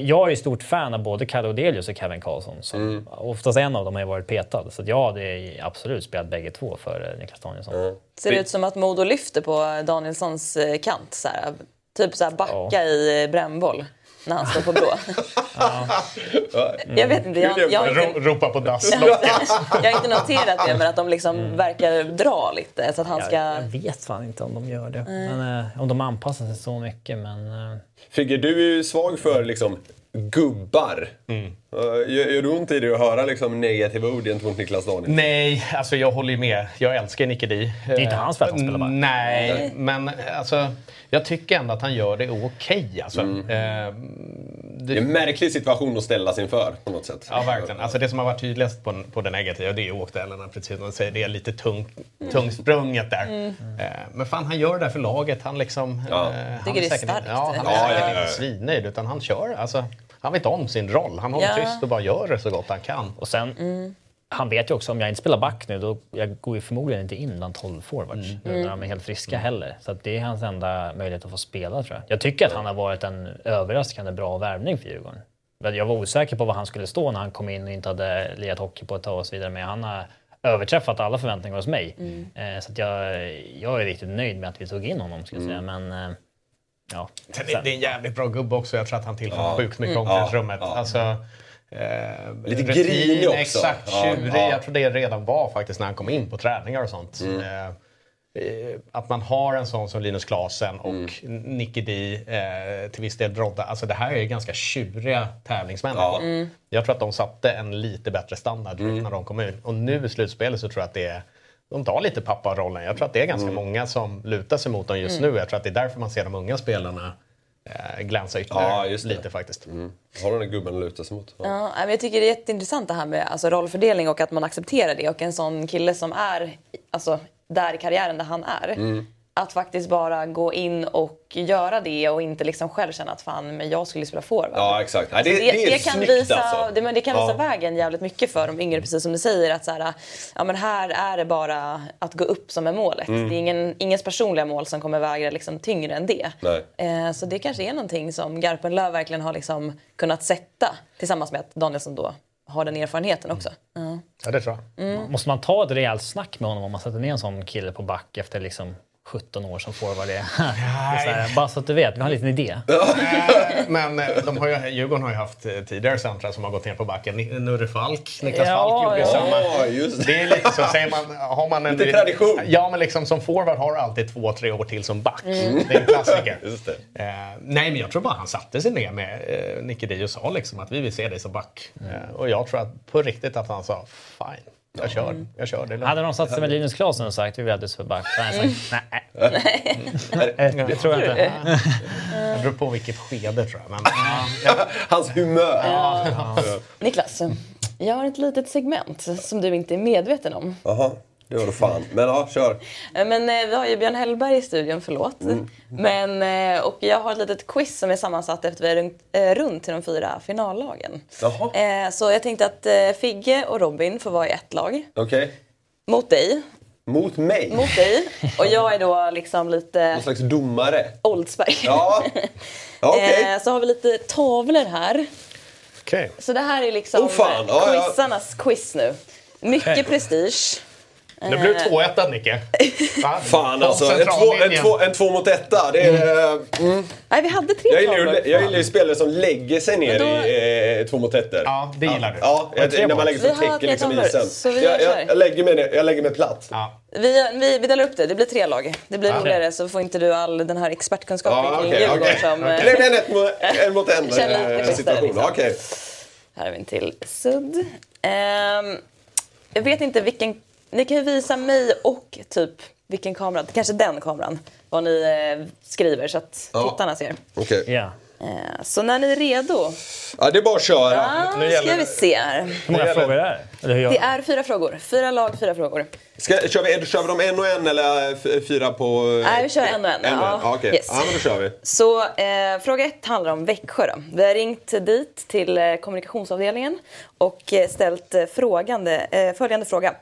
[SPEAKER 5] Jag är ju stort fan av både Kalle Odelius och Kevin Karlsson. Så Oftast en av dem har ju varit petad. Så att jag hade absolut spelat bägge två för eh, Niklas Danielsson.
[SPEAKER 3] Ser det ut som att Modo lyfter på Danielssons eh, kant? Så här, typ så här backa
[SPEAKER 5] Ja.
[SPEAKER 3] i eh, brännboll när han står på blå.
[SPEAKER 2] Ja.
[SPEAKER 3] Jag vet inte, jag, jag, har
[SPEAKER 4] Ro,
[SPEAKER 3] inte,
[SPEAKER 4] ropa på dass.
[SPEAKER 3] jag har inte noterat det men att de liksom verkar dra lite så att han ska...
[SPEAKER 5] Jag, jag vet fan inte om de gör det. Men, eh, om de anpassar sig så mycket. Men, eh,
[SPEAKER 2] Figge, du är ju svag för liksom gubbar. Eh, Gör, gör du ont i dig att höra liksom, negativa ord gentemot Niklas Danielsson?
[SPEAKER 4] Nej, alltså jag håller ju med. Jag älskar Nicky Di. Det är
[SPEAKER 5] inte hans fel att han spelar back.
[SPEAKER 4] Nej, men alltså, jag tycker ändå att han gör det okej. alltså. Eh,
[SPEAKER 2] Det är en märklig situation att ställas inför på något sätt.
[SPEAKER 4] Ja, verkligen. Alltså det som har varit tydligast på, på det negativa det är ju åkduellerna, precis som du säger. Det är lite tung, tungsprunget där. Eh, Men fan, han gör det där för laget. Han liksom...
[SPEAKER 2] Ja.
[SPEAKER 4] eh, han
[SPEAKER 3] Tycker det är
[SPEAKER 4] säkert-
[SPEAKER 3] starkt.
[SPEAKER 4] Ja, han är
[SPEAKER 2] Ja,
[SPEAKER 4] säkert
[SPEAKER 2] ja,
[SPEAKER 4] inte
[SPEAKER 2] ja.
[SPEAKER 4] svinnöjd, utan han kör. Alltså, han vet om sin roll. Han håller
[SPEAKER 3] Ja.
[SPEAKER 4] tyst och bara gör det så gott han kan.
[SPEAKER 5] och sen, Han vet ju också om jag inte spelar back nu, då jag går ju förmodligen inte in bland 12 forwards. Nu när de är helt friska heller. Så att det är hans enda möjlighet att få spela tror jag. Jag tycker att han har varit en överraskande bra värvning för Djurgården. Men Jag var osäker på var han skulle stå när han kom in och inte hade lirat hockey på ett tag och så vidare. Men han har överträffat alla förväntningar hos mig. Eh, Så att jag, jag är riktigt nöjd med att vi tog in honom, ska jag säga. Men, eh, ja.
[SPEAKER 4] Sen är det är en jävligt bra gubbe också. Jag tror att han tillför sjukt mycket omklädningsrummet. Alltså, eh,
[SPEAKER 2] Mm. Lite
[SPEAKER 4] rutin,
[SPEAKER 2] grinig också.
[SPEAKER 4] Exakt,
[SPEAKER 2] Ja,
[SPEAKER 4] tjurig.
[SPEAKER 2] ja.
[SPEAKER 4] Jag tror det redan var faktiskt när han kom in på träningar och sånt.
[SPEAKER 2] Mm.
[SPEAKER 4] Eh, eh, att man har en sån som Linus Klasen och
[SPEAKER 2] Mm.
[SPEAKER 4] Nicky Di, eh, till viss del Brodda. Alltså det här är ju ganska tjuriga tävlingsmänniskor.
[SPEAKER 2] Ja. Mm.
[SPEAKER 4] Jag tror att de satte en lite bättre standard när de kom in. Och nu i slutspelet så tror jag att det är de tar lite papparollen. Jag tror att det är
[SPEAKER 2] Mm.
[SPEAKER 4] ganska många som lutar sig mot dem just nu. Jag tror att det är därför man ser de unga spelarna eh, glänsa ytterligare
[SPEAKER 2] Ja, just det. Mm.
[SPEAKER 4] lite faktiskt.
[SPEAKER 2] Har du den där gubben att luta sig mot? Ja.
[SPEAKER 3] Ja, nej, men jag tycker det är jätteintressant det här med alltså, rollfördelning och att man accepterar det. Och en sån kille som är alltså, där i karriären där han är. Att faktiskt bara gå in och göra det och inte liksom själv känna att fan, men jag skulle spela forward.
[SPEAKER 2] Ja, exakt. Nej, det,
[SPEAKER 3] Det,
[SPEAKER 2] det, är
[SPEAKER 3] det kan
[SPEAKER 2] snyggt
[SPEAKER 3] visa,
[SPEAKER 2] alltså.
[SPEAKER 3] det, men det kan visa
[SPEAKER 2] Ja.
[SPEAKER 3] vägen jävligt mycket för de yngre, precis som du säger. Att så här, ja, men här är det bara att gå upp som är målet.
[SPEAKER 2] Mm.
[SPEAKER 3] Det är ingen, ingens personliga mål som kommer väga liksom, tyngre än det.
[SPEAKER 2] Nej.
[SPEAKER 3] Eh, så det kanske är någonting som Garpenlöv verkligen har liksom, kunnat sätta tillsammans med att Danielsson då har den erfarenheten också.
[SPEAKER 2] Mm.
[SPEAKER 3] Eh, Ja.
[SPEAKER 4] Ja, det tror jag.
[SPEAKER 3] Mm.
[SPEAKER 5] Måste man ta ett rejält snack med honom om man sätter ner en sån kille på back efter liksom 17 år som forward? Det är så här, bara så att du vet, vi har en liten idé.
[SPEAKER 4] Eh, Men eh, de har ju, Djurgården har ju haft eh, tidigare centra som har gått ner på backen. Ni- Nurre Falk, Niklas
[SPEAKER 5] Ja,
[SPEAKER 4] Falk gjorde ju
[SPEAKER 5] ja.
[SPEAKER 4] samma.
[SPEAKER 2] Ja, just
[SPEAKER 4] Det
[SPEAKER 2] det.
[SPEAKER 4] är lite så, säger man, har man en...
[SPEAKER 2] Lite tradition.
[SPEAKER 4] Ja, men liksom som forward har du alltid två, tre år till som back.
[SPEAKER 5] Mm.
[SPEAKER 4] Det är en klassiker.
[SPEAKER 2] Just det.
[SPEAKER 4] Eh, nej, men jag tror bara han satte sig ner med eh, Nicky Di och sa liksom att vi vill se dig som back.
[SPEAKER 2] Mm.
[SPEAKER 4] Eh, och jag tror att på riktigt att han sa fine, jag kör, jag kör. Det är lugnt."
[SPEAKER 5] Hade de satt sig med Linus Klasen och sagt vi vill att du ska vara back, då hade han sagt
[SPEAKER 3] Mm.
[SPEAKER 5] nej, det tror jag inte.
[SPEAKER 4] Eh, Det beror på vilket skede tror jag. Men,
[SPEAKER 2] Mm. Hans humör.
[SPEAKER 3] Niklas, jag har ett litet segment som du inte är medveten om.
[SPEAKER 2] Jaha, det var då fan. Men ja, kör.
[SPEAKER 3] Eh, Men eh, vi har ju Björn Hellberg i studion, förlåt.
[SPEAKER 2] Mm.
[SPEAKER 3] Men, eh, och jag har ett litet quiz som är sammansatt efter vi har runt, eh, runt till de fyra finallagen.
[SPEAKER 2] Jaha.
[SPEAKER 3] Eh, Så jag tänkte att eh, Figge och Robin får vara i ett lag.
[SPEAKER 2] Okej.
[SPEAKER 3] Mot dig.
[SPEAKER 2] Mot mig? Någon
[SPEAKER 3] Mot dig. Och jag är då liksom lite
[SPEAKER 2] slags domare?
[SPEAKER 3] Oldsberg.
[SPEAKER 2] Ja, ja okej.
[SPEAKER 3] Eh, Så har vi lite tavlor här.
[SPEAKER 4] Okej.
[SPEAKER 3] Så det här är liksom
[SPEAKER 2] Åh, fan. Ja, ja.
[SPEAKER 3] quizarnas quiz nu. Mycket prestige.
[SPEAKER 4] Det blev
[SPEAKER 5] Eh.
[SPEAKER 4] 2-1 Nicke. Fan,
[SPEAKER 2] Fan alltså, en två,
[SPEAKER 4] Centrallinjen.
[SPEAKER 2] en, två, en två mot etta. Det är, eh,
[SPEAKER 3] Nej, vi hade tre
[SPEAKER 2] jag, gillar ju,
[SPEAKER 3] tavlor.
[SPEAKER 2] jag gillar ju spelare som lägger sig ner
[SPEAKER 3] Men då-
[SPEAKER 2] i eh, två mot ettor.
[SPEAKER 4] Ja, det gillar du.
[SPEAKER 2] Ja,
[SPEAKER 4] Och tre
[SPEAKER 2] jag, när
[SPEAKER 4] mål.
[SPEAKER 2] man lägger sig och
[SPEAKER 3] Vi har
[SPEAKER 2] täcker liksom
[SPEAKER 3] tre tavlor,
[SPEAKER 2] isen.
[SPEAKER 3] så vi gör
[SPEAKER 2] jag,
[SPEAKER 3] så
[SPEAKER 2] jag,
[SPEAKER 3] här.
[SPEAKER 2] jag, lägger mig ner, jag lägger mig platt.
[SPEAKER 4] Ja.
[SPEAKER 3] Vi, vi, vi delar upp det. Det blir tre lag. Det blir roligare så får inte du all den här expertkunskapen
[SPEAKER 2] Ja,
[SPEAKER 3] kring
[SPEAKER 2] okej.
[SPEAKER 3] Djurgården
[SPEAKER 2] okej.
[SPEAKER 3] som... eh,
[SPEAKER 2] Blev det en ett mot- en mot en
[SPEAKER 3] Känner lite
[SPEAKER 2] eh,
[SPEAKER 3] bättre,
[SPEAKER 2] situation?
[SPEAKER 3] liksom.
[SPEAKER 2] Okej.
[SPEAKER 3] Här har vi en till sudd. Ehm, jag vet inte vilken... Ni kan ju visa mig och typ vilken kamera, kanske den kameran, vad ni eh, skriver så att
[SPEAKER 2] Ja.
[SPEAKER 3] tittarna ser.
[SPEAKER 2] Okej.
[SPEAKER 5] Ja.
[SPEAKER 3] Eh, så när ni är redo,
[SPEAKER 2] Ja, det är bara att köra.
[SPEAKER 3] ah,
[SPEAKER 4] nu
[SPEAKER 3] ska
[SPEAKER 4] gäller
[SPEAKER 3] vi
[SPEAKER 4] det.
[SPEAKER 3] se här.
[SPEAKER 5] Hur många
[SPEAKER 4] gäller-
[SPEAKER 5] frågor är det? Eller hur jag...
[SPEAKER 3] Det är fyra frågor. Fyra lag, fyra frågor.
[SPEAKER 2] Ska, kör, vi, kör vi dem en och en eller eh, f- fyra på...
[SPEAKER 3] Nej, vi kör en och en.
[SPEAKER 2] En och en.
[SPEAKER 3] Ja.
[SPEAKER 2] Ja, okej.
[SPEAKER 3] Yes.
[SPEAKER 2] Ja, men då kör vi.
[SPEAKER 3] Så eh, fråga ett handlar om Växjö. Då. Vi har ringt dit till eh, kommunikationsavdelningen och eh, ställt eh, frågande, eh, följande fråga.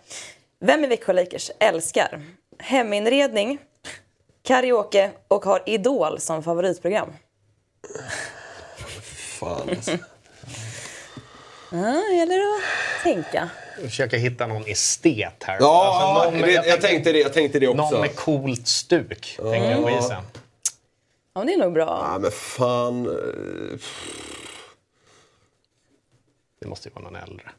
[SPEAKER 3] Vem i Växjö Lakers älskar heminredning, karaoke och har Idol som favoritprogram?
[SPEAKER 2] Fan alltså.
[SPEAKER 3] Ja, det Ah, gäller att tänka.
[SPEAKER 4] Försöka hitta någon estet här.
[SPEAKER 2] Ja,
[SPEAKER 4] Alltså, någon med-
[SPEAKER 2] det, jag, tänkte det, jag tänkte det också.
[SPEAKER 4] Någon med coolt stuk, tänker jag på isen.
[SPEAKER 3] Ja, men det är nog bra.
[SPEAKER 2] Ja, men fan. eh,
[SPEAKER 4] Det måste ju vara någon äldre.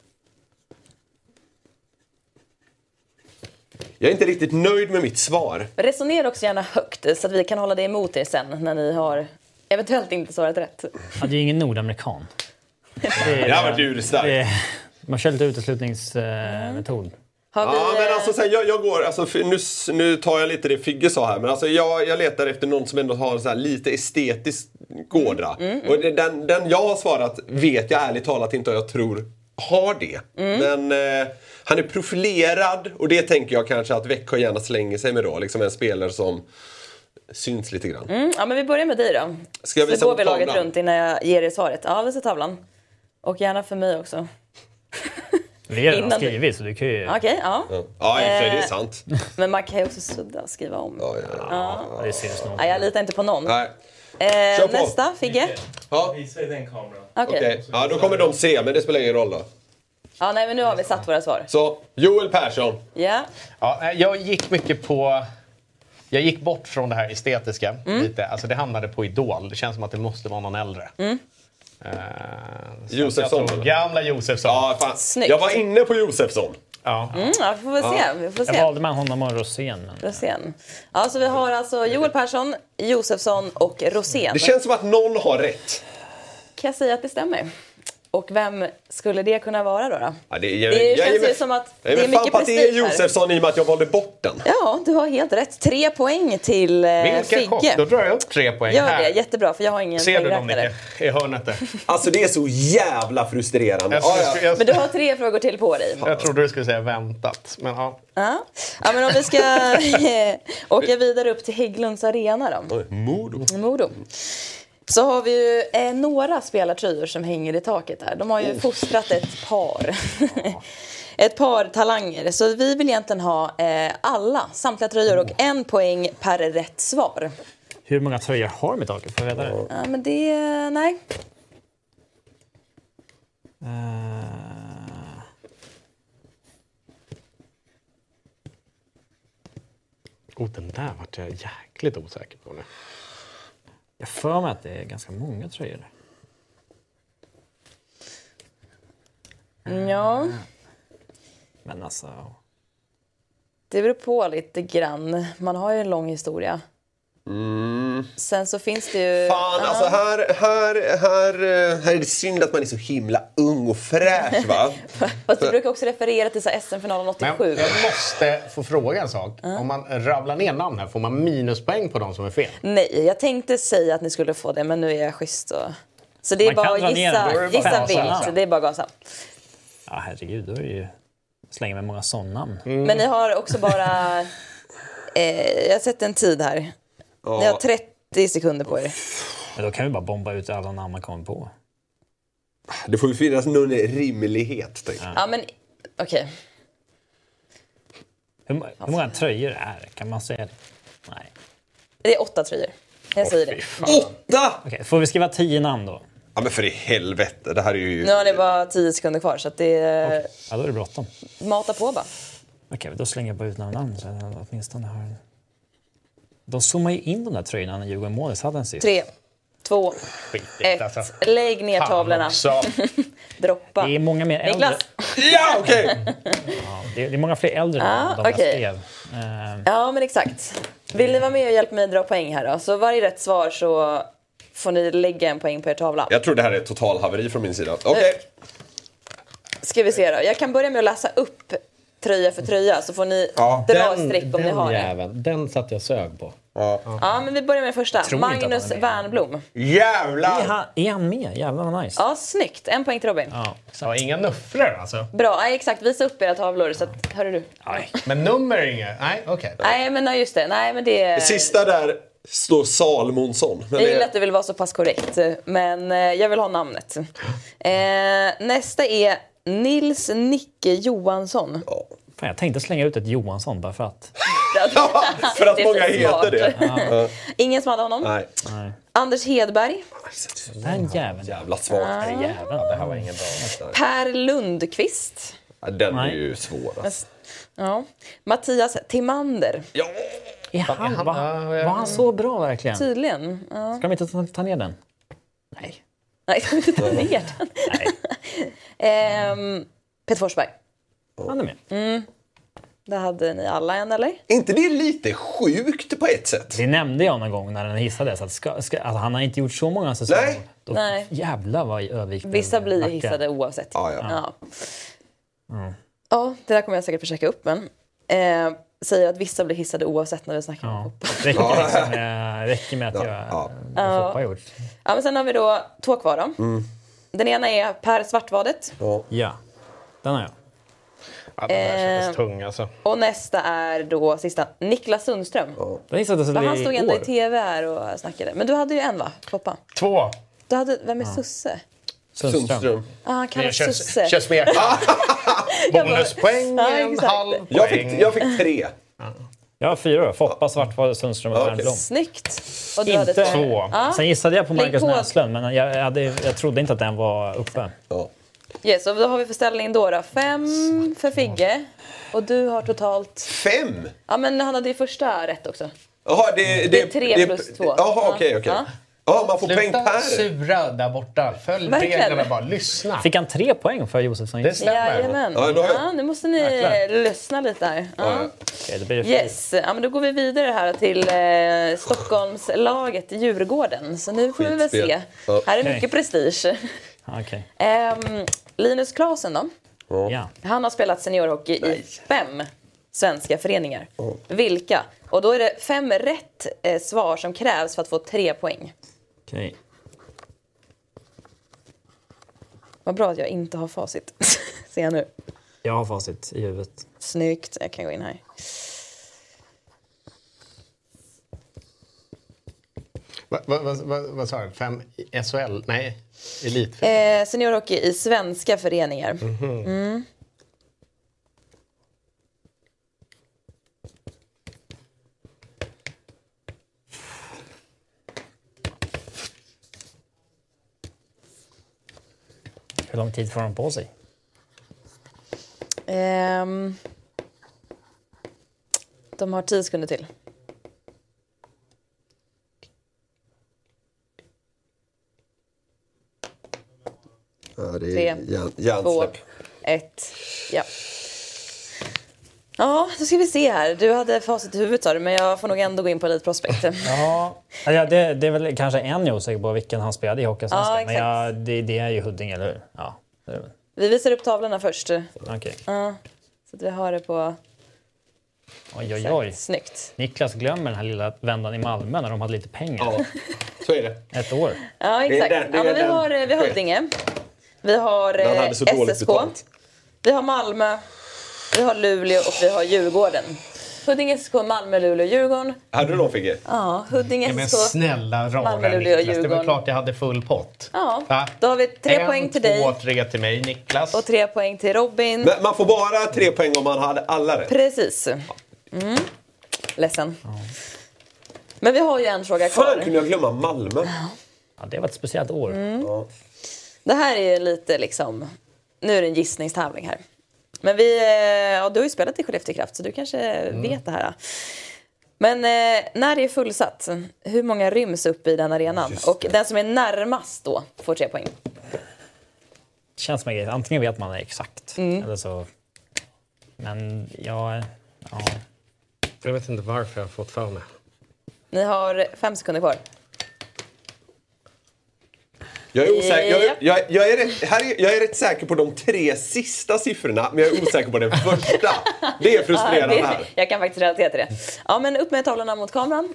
[SPEAKER 2] Jag är inte riktigt nöjd med mitt svar.
[SPEAKER 3] Resonera också gärna högt så att vi kan hålla det emot er sen när ni har eventuellt inte svarat rätt.
[SPEAKER 5] Ja, det är ju ingen nordamerikan. Det är-
[SPEAKER 2] Det har varit urstarkt.
[SPEAKER 5] det är- Man kör lite uteslutningsmetod.
[SPEAKER 3] Mm. Har vi,
[SPEAKER 2] Ja, men
[SPEAKER 3] eh,
[SPEAKER 2] alltså sen jag, jag går, alltså, för nu, s- nu tar jag lite det Figge sa här, men alltså jag, jag letar efter någon som ändå har så här lite estetisk gårdra.
[SPEAKER 3] Mm,
[SPEAKER 2] Och det, den, den jag har svarat vet jag ärligt talat inte och jag tror har det.
[SPEAKER 3] Mm.
[SPEAKER 2] Men eh, han är profilerad och det tänker jag kanske att Växjö gärna slänger sig med då. Liksom en spelare som syns lite grann.
[SPEAKER 3] Mm, ja, men vi börjar med dig då.
[SPEAKER 2] Ska jag
[SPEAKER 3] Så
[SPEAKER 2] visa
[SPEAKER 3] går
[SPEAKER 2] på
[SPEAKER 3] vi laget
[SPEAKER 2] tavlan?
[SPEAKER 3] runt innan jag ger er svaret. Ja, visa tavlan. Och gärna för mig också.
[SPEAKER 5] Vi har redan
[SPEAKER 3] Innan du-
[SPEAKER 5] skrivit så du kan ju...
[SPEAKER 3] Okej, ja.
[SPEAKER 2] Ja, i och för sig, det är
[SPEAKER 3] Eh.
[SPEAKER 2] sant.
[SPEAKER 3] Men man kan ju också sudda och skriva om.
[SPEAKER 2] Ja, ja, ja.
[SPEAKER 5] Ja, Det syns nog.
[SPEAKER 3] Nej, jag litar inte på någon.
[SPEAKER 2] Nej.
[SPEAKER 3] Eh,
[SPEAKER 2] på.
[SPEAKER 3] nästa, Figge.
[SPEAKER 2] Ja,
[SPEAKER 6] Visa i den kameran.
[SPEAKER 3] Okej.
[SPEAKER 2] okej. ja, då kommer de se, men det spelar ingen roll då.
[SPEAKER 3] Ja, nej, men nu har vi satt våra svar.
[SPEAKER 2] Så, Joel Persson.
[SPEAKER 3] Ja.
[SPEAKER 4] Ja, nej, jag gick mycket på... Jag gick bort från det här estetiska
[SPEAKER 2] Mm.
[SPEAKER 4] lite. Alltså det hamnade på Idol. Det känns som att det måste vara någon äldre. Mm.
[SPEAKER 2] Josefsson.
[SPEAKER 4] Gamla Josefsson. Ja.
[SPEAKER 2] Ja, fan.
[SPEAKER 3] Snyggt.
[SPEAKER 2] Jag var inne på Josefsson.
[SPEAKER 3] Mm, ja, vi får väl se. Vi får
[SPEAKER 5] Jag
[SPEAKER 3] se.
[SPEAKER 5] valde man honom och Rosén. Men...
[SPEAKER 3] Rosén. Ja, så vi har alltså Joel Persson, Josefsson och Rosén.
[SPEAKER 2] Det känns som att någon har rätt.
[SPEAKER 3] Kan jag säga att det stämmer? Och vem skulle det kunna vara då? då?
[SPEAKER 2] Ja, det, jag,
[SPEAKER 3] Det
[SPEAKER 2] jag
[SPEAKER 3] känns
[SPEAKER 2] ger mig-
[SPEAKER 3] ju som att
[SPEAKER 2] jag ger
[SPEAKER 3] det är
[SPEAKER 2] mig fan
[SPEAKER 3] mycket
[SPEAKER 2] på att det är
[SPEAKER 3] prestige här.
[SPEAKER 2] Josefsson i och med att jag valde bort den.
[SPEAKER 3] Ja, du har helt rätt. Tre poäng till eh,
[SPEAKER 4] Vilken chock! Då
[SPEAKER 3] Figge.
[SPEAKER 4] drar jag upp tre poäng
[SPEAKER 3] Gör
[SPEAKER 4] här.
[SPEAKER 3] det, jättebra för jag har ingen
[SPEAKER 4] Ser du dem
[SPEAKER 3] poängräknare.
[SPEAKER 4] Nicke? I hörnet där.
[SPEAKER 2] Alltså det är så jävla frustrerande.
[SPEAKER 4] Jag,
[SPEAKER 2] Ja, ja.
[SPEAKER 4] jag, jag,
[SPEAKER 3] Men du har tre frågor till på dig.
[SPEAKER 4] jag trodde du skulle säga väntat. Men ja.
[SPEAKER 3] Ja, ja men om vi ska eh, åka vidare upp till Hägglunds arena då,
[SPEAKER 2] Oj, Modo.
[SPEAKER 3] i Modo. Så har vi ju eh, några spelartröjor som hänger i taket här. De har ju fostrat ett par. ett par talanger. Så vi vill egentligen ha eh, alla, samtliga tröjor
[SPEAKER 4] Mm.
[SPEAKER 3] och en poäng per rätt svar.
[SPEAKER 5] Hur många tröjor har de i taket? Får jag veta det?
[SPEAKER 3] Ja, men det... Nej.
[SPEAKER 5] Eh,
[SPEAKER 4] Oh, den där vart jag jäkligt osäker på nu.
[SPEAKER 5] jag för mig att det är ganska många tröjor.
[SPEAKER 3] Ja.
[SPEAKER 5] Men alltså...
[SPEAKER 3] Det beror på lite grann. Man har ju en lång historia. Sen så finns det ju...
[SPEAKER 2] Fan,
[SPEAKER 3] Ja.
[SPEAKER 2] alltså här, här, här, eh, här är det synd att man är så himla ung och fräsch va?
[SPEAKER 3] Fast du brukar också referera till så här SM-finalen
[SPEAKER 4] Men
[SPEAKER 3] 87.
[SPEAKER 4] jag måste få fråga en sak. Om man rabblar ner namn här, får man minuspoäng på de som är fel?
[SPEAKER 3] Nej, jag tänkte säga att ni skulle få det, men nu är jag schysst. Och... Så det är
[SPEAKER 5] Man kan
[SPEAKER 3] bara
[SPEAKER 5] dra
[SPEAKER 3] att
[SPEAKER 5] ner den, då är
[SPEAKER 3] gissa,
[SPEAKER 5] det bara
[SPEAKER 3] gissa
[SPEAKER 5] att gasa.
[SPEAKER 3] vilt. Det är bara att gasa.
[SPEAKER 5] Ja, herregud. Då är det ju... Slänger med många sådana namn.
[SPEAKER 3] Men ni har också bara... eh, jag har sett en tid här. Ni har 30 sekunder på er.
[SPEAKER 5] Men då kan vi bara bomba ut alla namn man kommer på.
[SPEAKER 2] Det får ju finnas någon rimlighet. Tänk.
[SPEAKER 3] Ja, men okej.
[SPEAKER 5] Hur, må- hur många tröjor är det? Kan man säga det? Nej.
[SPEAKER 3] Det är åtta tröjor. Jag säger det.
[SPEAKER 2] Åtta!
[SPEAKER 5] Okej, får vi skriva tio namn då?
[SPEAKER 2] Ja men för i helvete, det här är ju...
[SPEAKER 3] Nu har det bara 10 sekunder kvar så att det är
[SPEAKER 5] Ja, då är det bråttom.
[SPEAKER 3] mata på bara.
[SPEAKER 5] Okej, då slänger jag bara ut några namn så jag åtminstone har... De zoomar ju in de där tröjorna när Djurgården målades hade den sist.
[SPEAKER 3] 3, 2,
[SPEAKER 4] Skitigt alltså.
[SPEAKER 3] 1. Lägg ner
[SPEAKER 4] Fan
[SPEAKER 3] tavlorna.
[SPEAKER 4] också.
[SPEAKER 3] Droppa.
[SPEAKER 5] Det är många mer äldre.
[SPEAKER 3] Niklas!
[SPEAKER 2] Ja, okej!
[SPEAKER 5] Det är, det är många fler äldre då än
[SPEAKER 3] Ah,
[SPEAKER 5] de jag
[SPEAKER 3] okej.
[SPEAKER 5] skrev. Eh,
[SPEAKER 3] Ja, men exakt. Vill ni vara med och hjälpa mig dra poäng här då? Så varje rätt svar så får ni lägga en poäng på er tavla.
[SPEAKER 2] Jag tror det här är ett total haveri från min sida. Okej.
[SPEAKER 3] Ska vi se då. Jag kan börja med att läsa upp tröja för tröja så får ni
[SPEAKER 2] Ja,
[SPEAKER 3] dra ett streck om ni
[SPEAKER 6] den
[SPEAKER 3] har det.
[SPEAKER 6] jäveln, den satt jag och sög på.
[SPEAKER 2] Ja.
[SPEAKER 3] Ja, men vi börjar med den första.
[SPEAKER 5] tror inte att han
[SPEAKER 3] Magnus
[SPEAKER 5] är med.
[SPEAKER 3] Wernbloom.
[SPEAKER 5] är,
[SPEAKER 2] Jävlar!
[SPEAKER 5] han, är han med? Jävlar vad nice.
[SPEAKER 3] Ja, snyggt. En poäng till Robin.
[SPEAKER 5] Ja, exakt.
[SPEAKER 4] Ja, inga nuffror alltså.
[SPEAKER 3] Bra, nej, exakt. Visa upp era tavlor så att, hörru du.
[SPEAKER 5] Aj.
[SPEAKER 4] Men nummer är inga. Nej, okej.
[SPEAKER 3] Nej, men nej, just det. Nej, men det...
[SPEAKER 2] Sista där står Salmonsson. Men
[SPEAKER 3] Jag gillar
[SPEAKER 2] det,
[SPEAKER 3] att du vill vara så pass korrekt, men eh, jag vill ha namnet. Eh, nästa är Nils Nicke Johansson.
[SPEAKER 5] Fan, jag tänkte slänga ut ett Johansson bara för att.
[SPEAKER 2] för att
[SPEAKER 3] Det är
[SPEAKER 2] många
[SPEAKER 3] så
[SPEAKER 2] heter
[SPEAKER 3] smart.
[SPEAKER 2] det.
[SPEAKER 3] Ingen som hade honom.
[SPEAKER 2] Nej.
[SPEAKER 3] Anders Hedberg.
[SPEAKER 5] Den jäveln.
[SPEAKER 2] Jävla svagt.
[SPEAKER 5] Jäveln.
[SPEAKER 4] Det här var ingen bra.
[SPEAKER 3] Per Lundqvist.
[SPEAKER 2] Ja, Den är
[SPEAKER 5] Nej.
[SPEAKER 2] ju svår. Alltså.
[SPEAKER 3] Ja. Mattias Timander.
[SPEAKER 2] Ja.
[SPEAKER 5] Är han, var,
[SPEAKER 4] Ja, ja.
[SPEAKER 5] var han så bra verkligen? Ska
[SPEAKER 3] Tydligen. Ja.
[SPEAKER 5] de inte ta, ta ner den? Nej.
[SPEAKER 3] Nej, jag vill inte ta ner den. Ehm, Peter Forsberg.
[SPEAKER 4] Oh.
[SPEAKER 5] Han är med.
[SPEAKER 3] Där hade ni alla en, eller?
[SPEAKER 2] Är inte det lite sjukt på ett sätt?
[SPEAKER 5] Det nämnde jag någon gång när den hissades. Att ska, ska, alltså, han har inte gjort så många säsonger.
[SPEAKER 2] Nej.
[SPEAKER 5] Då,
[SPEAKER 3] Nej.
[SPEAKER 5] Jävlar vad övervikten
[SPEAKER 3] Vissa blir ju
[SPEAKER 5] backar.
[SPEAKER 3] hissade oavsett.
[SPEAKER 2] Ja, ja.
[SPEAKER 3] Ja. ja, det där kommer jag säkert försöka upp men. Eh, säger att vissa blir hissade oavsett när vi snackar om
[SPEAKER 5] Ja.
[SPEAKER 3] fotboll.
[SPEAKER 5] Räcker, liksom med, räcker med att
[SPEAKER 2] Ja,
[SPEAKER 5] göra
[SPEAKER 2] ja.
[SPEAKER 5] vad Foppa har gjort.
[SPEAKER 3] Ja, men sen har vi då två kvar då.
[SPEAKER 2] Mm.
[SPEAKER 3] Den ena är Per Svartvadet
[SPEAKER 5] Ja, den har jag.
[SPEAKER 4] Ja, den där
[SPEAKER 3] eh,
[SPEAKER 4] kändes tung alltså.
[SPEAKER 3] och nästa är då sista Niklas Sundström.
[SPEAKER 5] Den hissades väl i
[SPEAKER 3] Han stod ändå i
[SPEAKER 5] år?
[SPEAKER 3] tv här och snackade. Men du hade ju en va, Poppa?
[SPEAKER 4] Två.
[SPEAKER 3] Du hade, vem är Susse?
[SPEAKER 5] Sundström.
[SPEAKER 2] Sundström.
[SPEAKER 3] Ja, han
[SPEAKER 4] Det
[SPEAKER 3] kallas
[SPEAKER 4] känns,
[SPEAKER 3] Susse.
[SPEAKER 4] känns mer... Bonuspoäng,
[SPEAKER 3] Ja,
[SPEAKER 4] en
[SPEAKER 3] exakt.
[SPEAKER 4] halv
[SPEAKER 2] Jag fick,
[SPEAKER 4] poäng.
[SPEAKER 2] jag fick tre.
[SPEAKER 5] Jag har fyra då. Foppa, Svartvad, Sundström och
[SPEAKER 2] Okej.
[SPEAKER 5] Wernbloom.
[SPEAKER 3] Snyggt! Och du
[SPEAKER 5] Inte
[SPEAKER 3] hade två.
[SPEAKER 4] Två.
[SPEAKER 5] Sen gissade jag på
[SPEAKER 3] Lägg
[SPEAKER 5] Marcus
[SPEAKER 3] på.
[SPEAKER 5] Näslund, men jag, jag, hade, jag trodde inte att den var uppe.
[SPEAKER 2] Ja.
[SPEAKER 3] Yes, och då har vi för ställning då, då. Fem för Figge. Och du har totalt...
[SPEAKER 2] Fem?
[SPEAKER 3] Ja, men han hade ju första rätt också.
[SPEAKER 2] Jaha, det, det,
[SPEAKER 3] Det är tre plus två.
[SPEAKER 2] Jaha,
[SPEAKER 3] Ja.
[SPEAKER 2] okej, okej.
[SPEAKER 3] Ja.
[SPEAKER 2] Ja, man får poäng
[SPEAKER 4] Sluta
[SPEAKER 2] per.
[SPEAKER 4] sura där borta. Följ
[SPEAKER 3] Verkligen.
[SPEAKER 4] reglerna bara. Lyssna.
[SPEAKER 5] Fick han tre poäng för Josefsson?
[SPEAKER 4] Det
[SPEAKER 5] Okej,
[SPEAKER 4] stämmer.
[SPEAKER 3] Jajamän.
[SPEAKER 2] Ja, då har jag-
[SPEAKER 3] Ja, nu måste ni lyssna lite här. Ja.
[SPEAKER 5] det blir
[SPEAKER 3] Yes, ja, men då går vi vidare här till eh, Stockholmslaget Djurgården. Så nu får vi väl se.
[SPEAKER 2] Skitspel. Ja.
[SPEAKER 3] Här är
[SPEAKER 5] Okej.
[SPEAKER 3] mycket prestige.
[SPEAKER 5] Ja, okej.
[SPEAKER 3] Ehm, Linus Klasen då?
[SPEAKER 5] Ja.
[SPEAKER 3] Han har spelat seniorhockey i fem svenska föreningar. Vilka? Och då är det fem rätt eh, svar som krävs för att få tre poäng.
[SPEAKER 5] Okej.
[SPEAKER 3] Vad bra att jag inte har facit. Ser jag nu.
[SPEAKER 5] Jag har facit i huvudet.
[SPEAKER 3] Snyggt, jag kan gå in här.
[SPEAKER 4] Va- va- va- va- Vad sa du? Fem i- SHL? Nej, elit.
[SPEAKER 3] Eh, seniorhockey i svenska föreningar.
[SPEAKER 2] Mm.
[SPEAKER 5] Hur lång tid får de på sig?
[SPEAKER 3] Ehm, de har tio sekunder till.
[SPEAKER 2] Ja, det
[SPEAKER 3] Tre,
[SPEAKER 2] hjärn-
[SPEAKER 3] Två,
[SPEAKER 2] hjärnsläpp.
[SPEAKER 3] ett, ja. Ja, då ska vi se här. Du hade facit i huvudet sa du, men jag får nog ändå gå in på Elite Prospect.
[SPEAKER 5] Ja, ja det, det är väl kanske en jag är osäker på vilken han spelade i Hockeyallsvenskan.
[SPEAKER 3] Ja,
[SPEAKER 5] men
[SPEAKER 3] exakt.
[SPEAKER 5] jag, det, det är ju Huddinge, eller hur? Ja, det är det väl.
[SPEAKER 3] Vi visar upp tavlorna först,
[SPEAKER 5] Okej.
[SPEAKER 3] så att vi har det på...
[SPEAKER 5] Oj, oj, oj.
[SPEAKER 3] Snyggt.
[SPEAKER 5] Niklas glömmer den här lilla vändan i Malmö när de hade lite pengar.
[SPEAKER 2] Ja, så är det.
[SPEAKER 5] Ett år.
[SPEAKER 3] Ja,
[SPEAKER 2] är
[SPEAKER 3] exakt.
[SPEAKER 2] den- det
[SPEAKER 3] ja,
[SPEAKER 2] är
[SPEAKER 3] men vi
[SPEAKER 2] den.
[SPEAKER 3] har, eh, vi har Huddinge. Vi har eh,
[SPEAKER 2] Han hade så dåligt
[SPEAKER 3] SSK.
[SPEAKER 2] betalt.
[SPEAKER 3] Vi har Malmö. Vi har Luleå och vi har Djurgården. Huddinge, SSK, Malmö, Luleå, Djurgården.
[SPEAKER 2] Hade du någon Figge?
[SPEAKER 3] Ja, Huddinge,
[SPEAKER 4] Men
[SPEAKER 3] SSK.
[SPEAKER 4] snälla
[SPEAKER 3] Malmö,
[SPEAKER 4] rara
[SPEAKER 3] Luleå,
[SPEAKER 4] Niklas. Det var
[SPEAKER 3] Djurgården.
[SPEAKER 4] klart jag hade full pott.
[SPEAKER 3] Ja,
[SPEAKER 4] Va?
[SPEAKER 3] då har vi tre
[SPEAKER 4] en,
[SPEAKER 3] poäng till
[SPEAKER 4] två,
[SPEAKER 3] dig.
[SPEAKER 4] tre till mig, Niklas.
[SPEAKER 3] Och tre poäng till Robin.
[SPEAKER 2] Men man får bara tre poäng om man hade alla rätt.
[SPEAKER 3] Precis. Mm. Ledsen. Men vi har ju en fråga
[SPEAKER 2] Fan
[SPEAKER 3] kvar.
[SPEAKER 2] kunde jag glömma Malmö?
[SPEAKER 3] Mm.
[SPEAKER 5] Ja, det var ett speciellt år.
[SPEAKER 2] Ja.
[SPEAKER 3] Det här är ju lite liksom, nu är det en gissningstävling här. Men vi, eh, ja, du har ju spelat i Skellefteå Kraft så du kanske vet det här. ja. Men eh, när det är fullsatt, hur många ryms upp i den arenan? Och den som är närmast då får tre poäng.
[SPEAKER 5] Det känns som en grej. Antingen vet man det exakt
[SPEAKER 3] Mm.
[SPEAKER 5] eller så... Men jag... Ja.
[SPEAKER 4] Jag vet inte varför jag har fått för mig.
[SPEAKER 3] Ni har fem sekunder kvar.
[SPEAKER 2] Jag är, osäker, jag,
[SPEAKER 3] Japp.
[SPEAKER 2] är- jag, jag, är rätt, här är, jag är rätt säker på de tre sista siffrorna, men jag är osäker på den första. Det är
[SPEAKER 3] Ja,
[SPEAKER 2] frustrerande
[SPEAKER 3] det,
[SPEAKER 2] här.
[SPEAKER 3] jag kan faktiskt relatera till det. Ja, men upp med tavlorna mot kameran.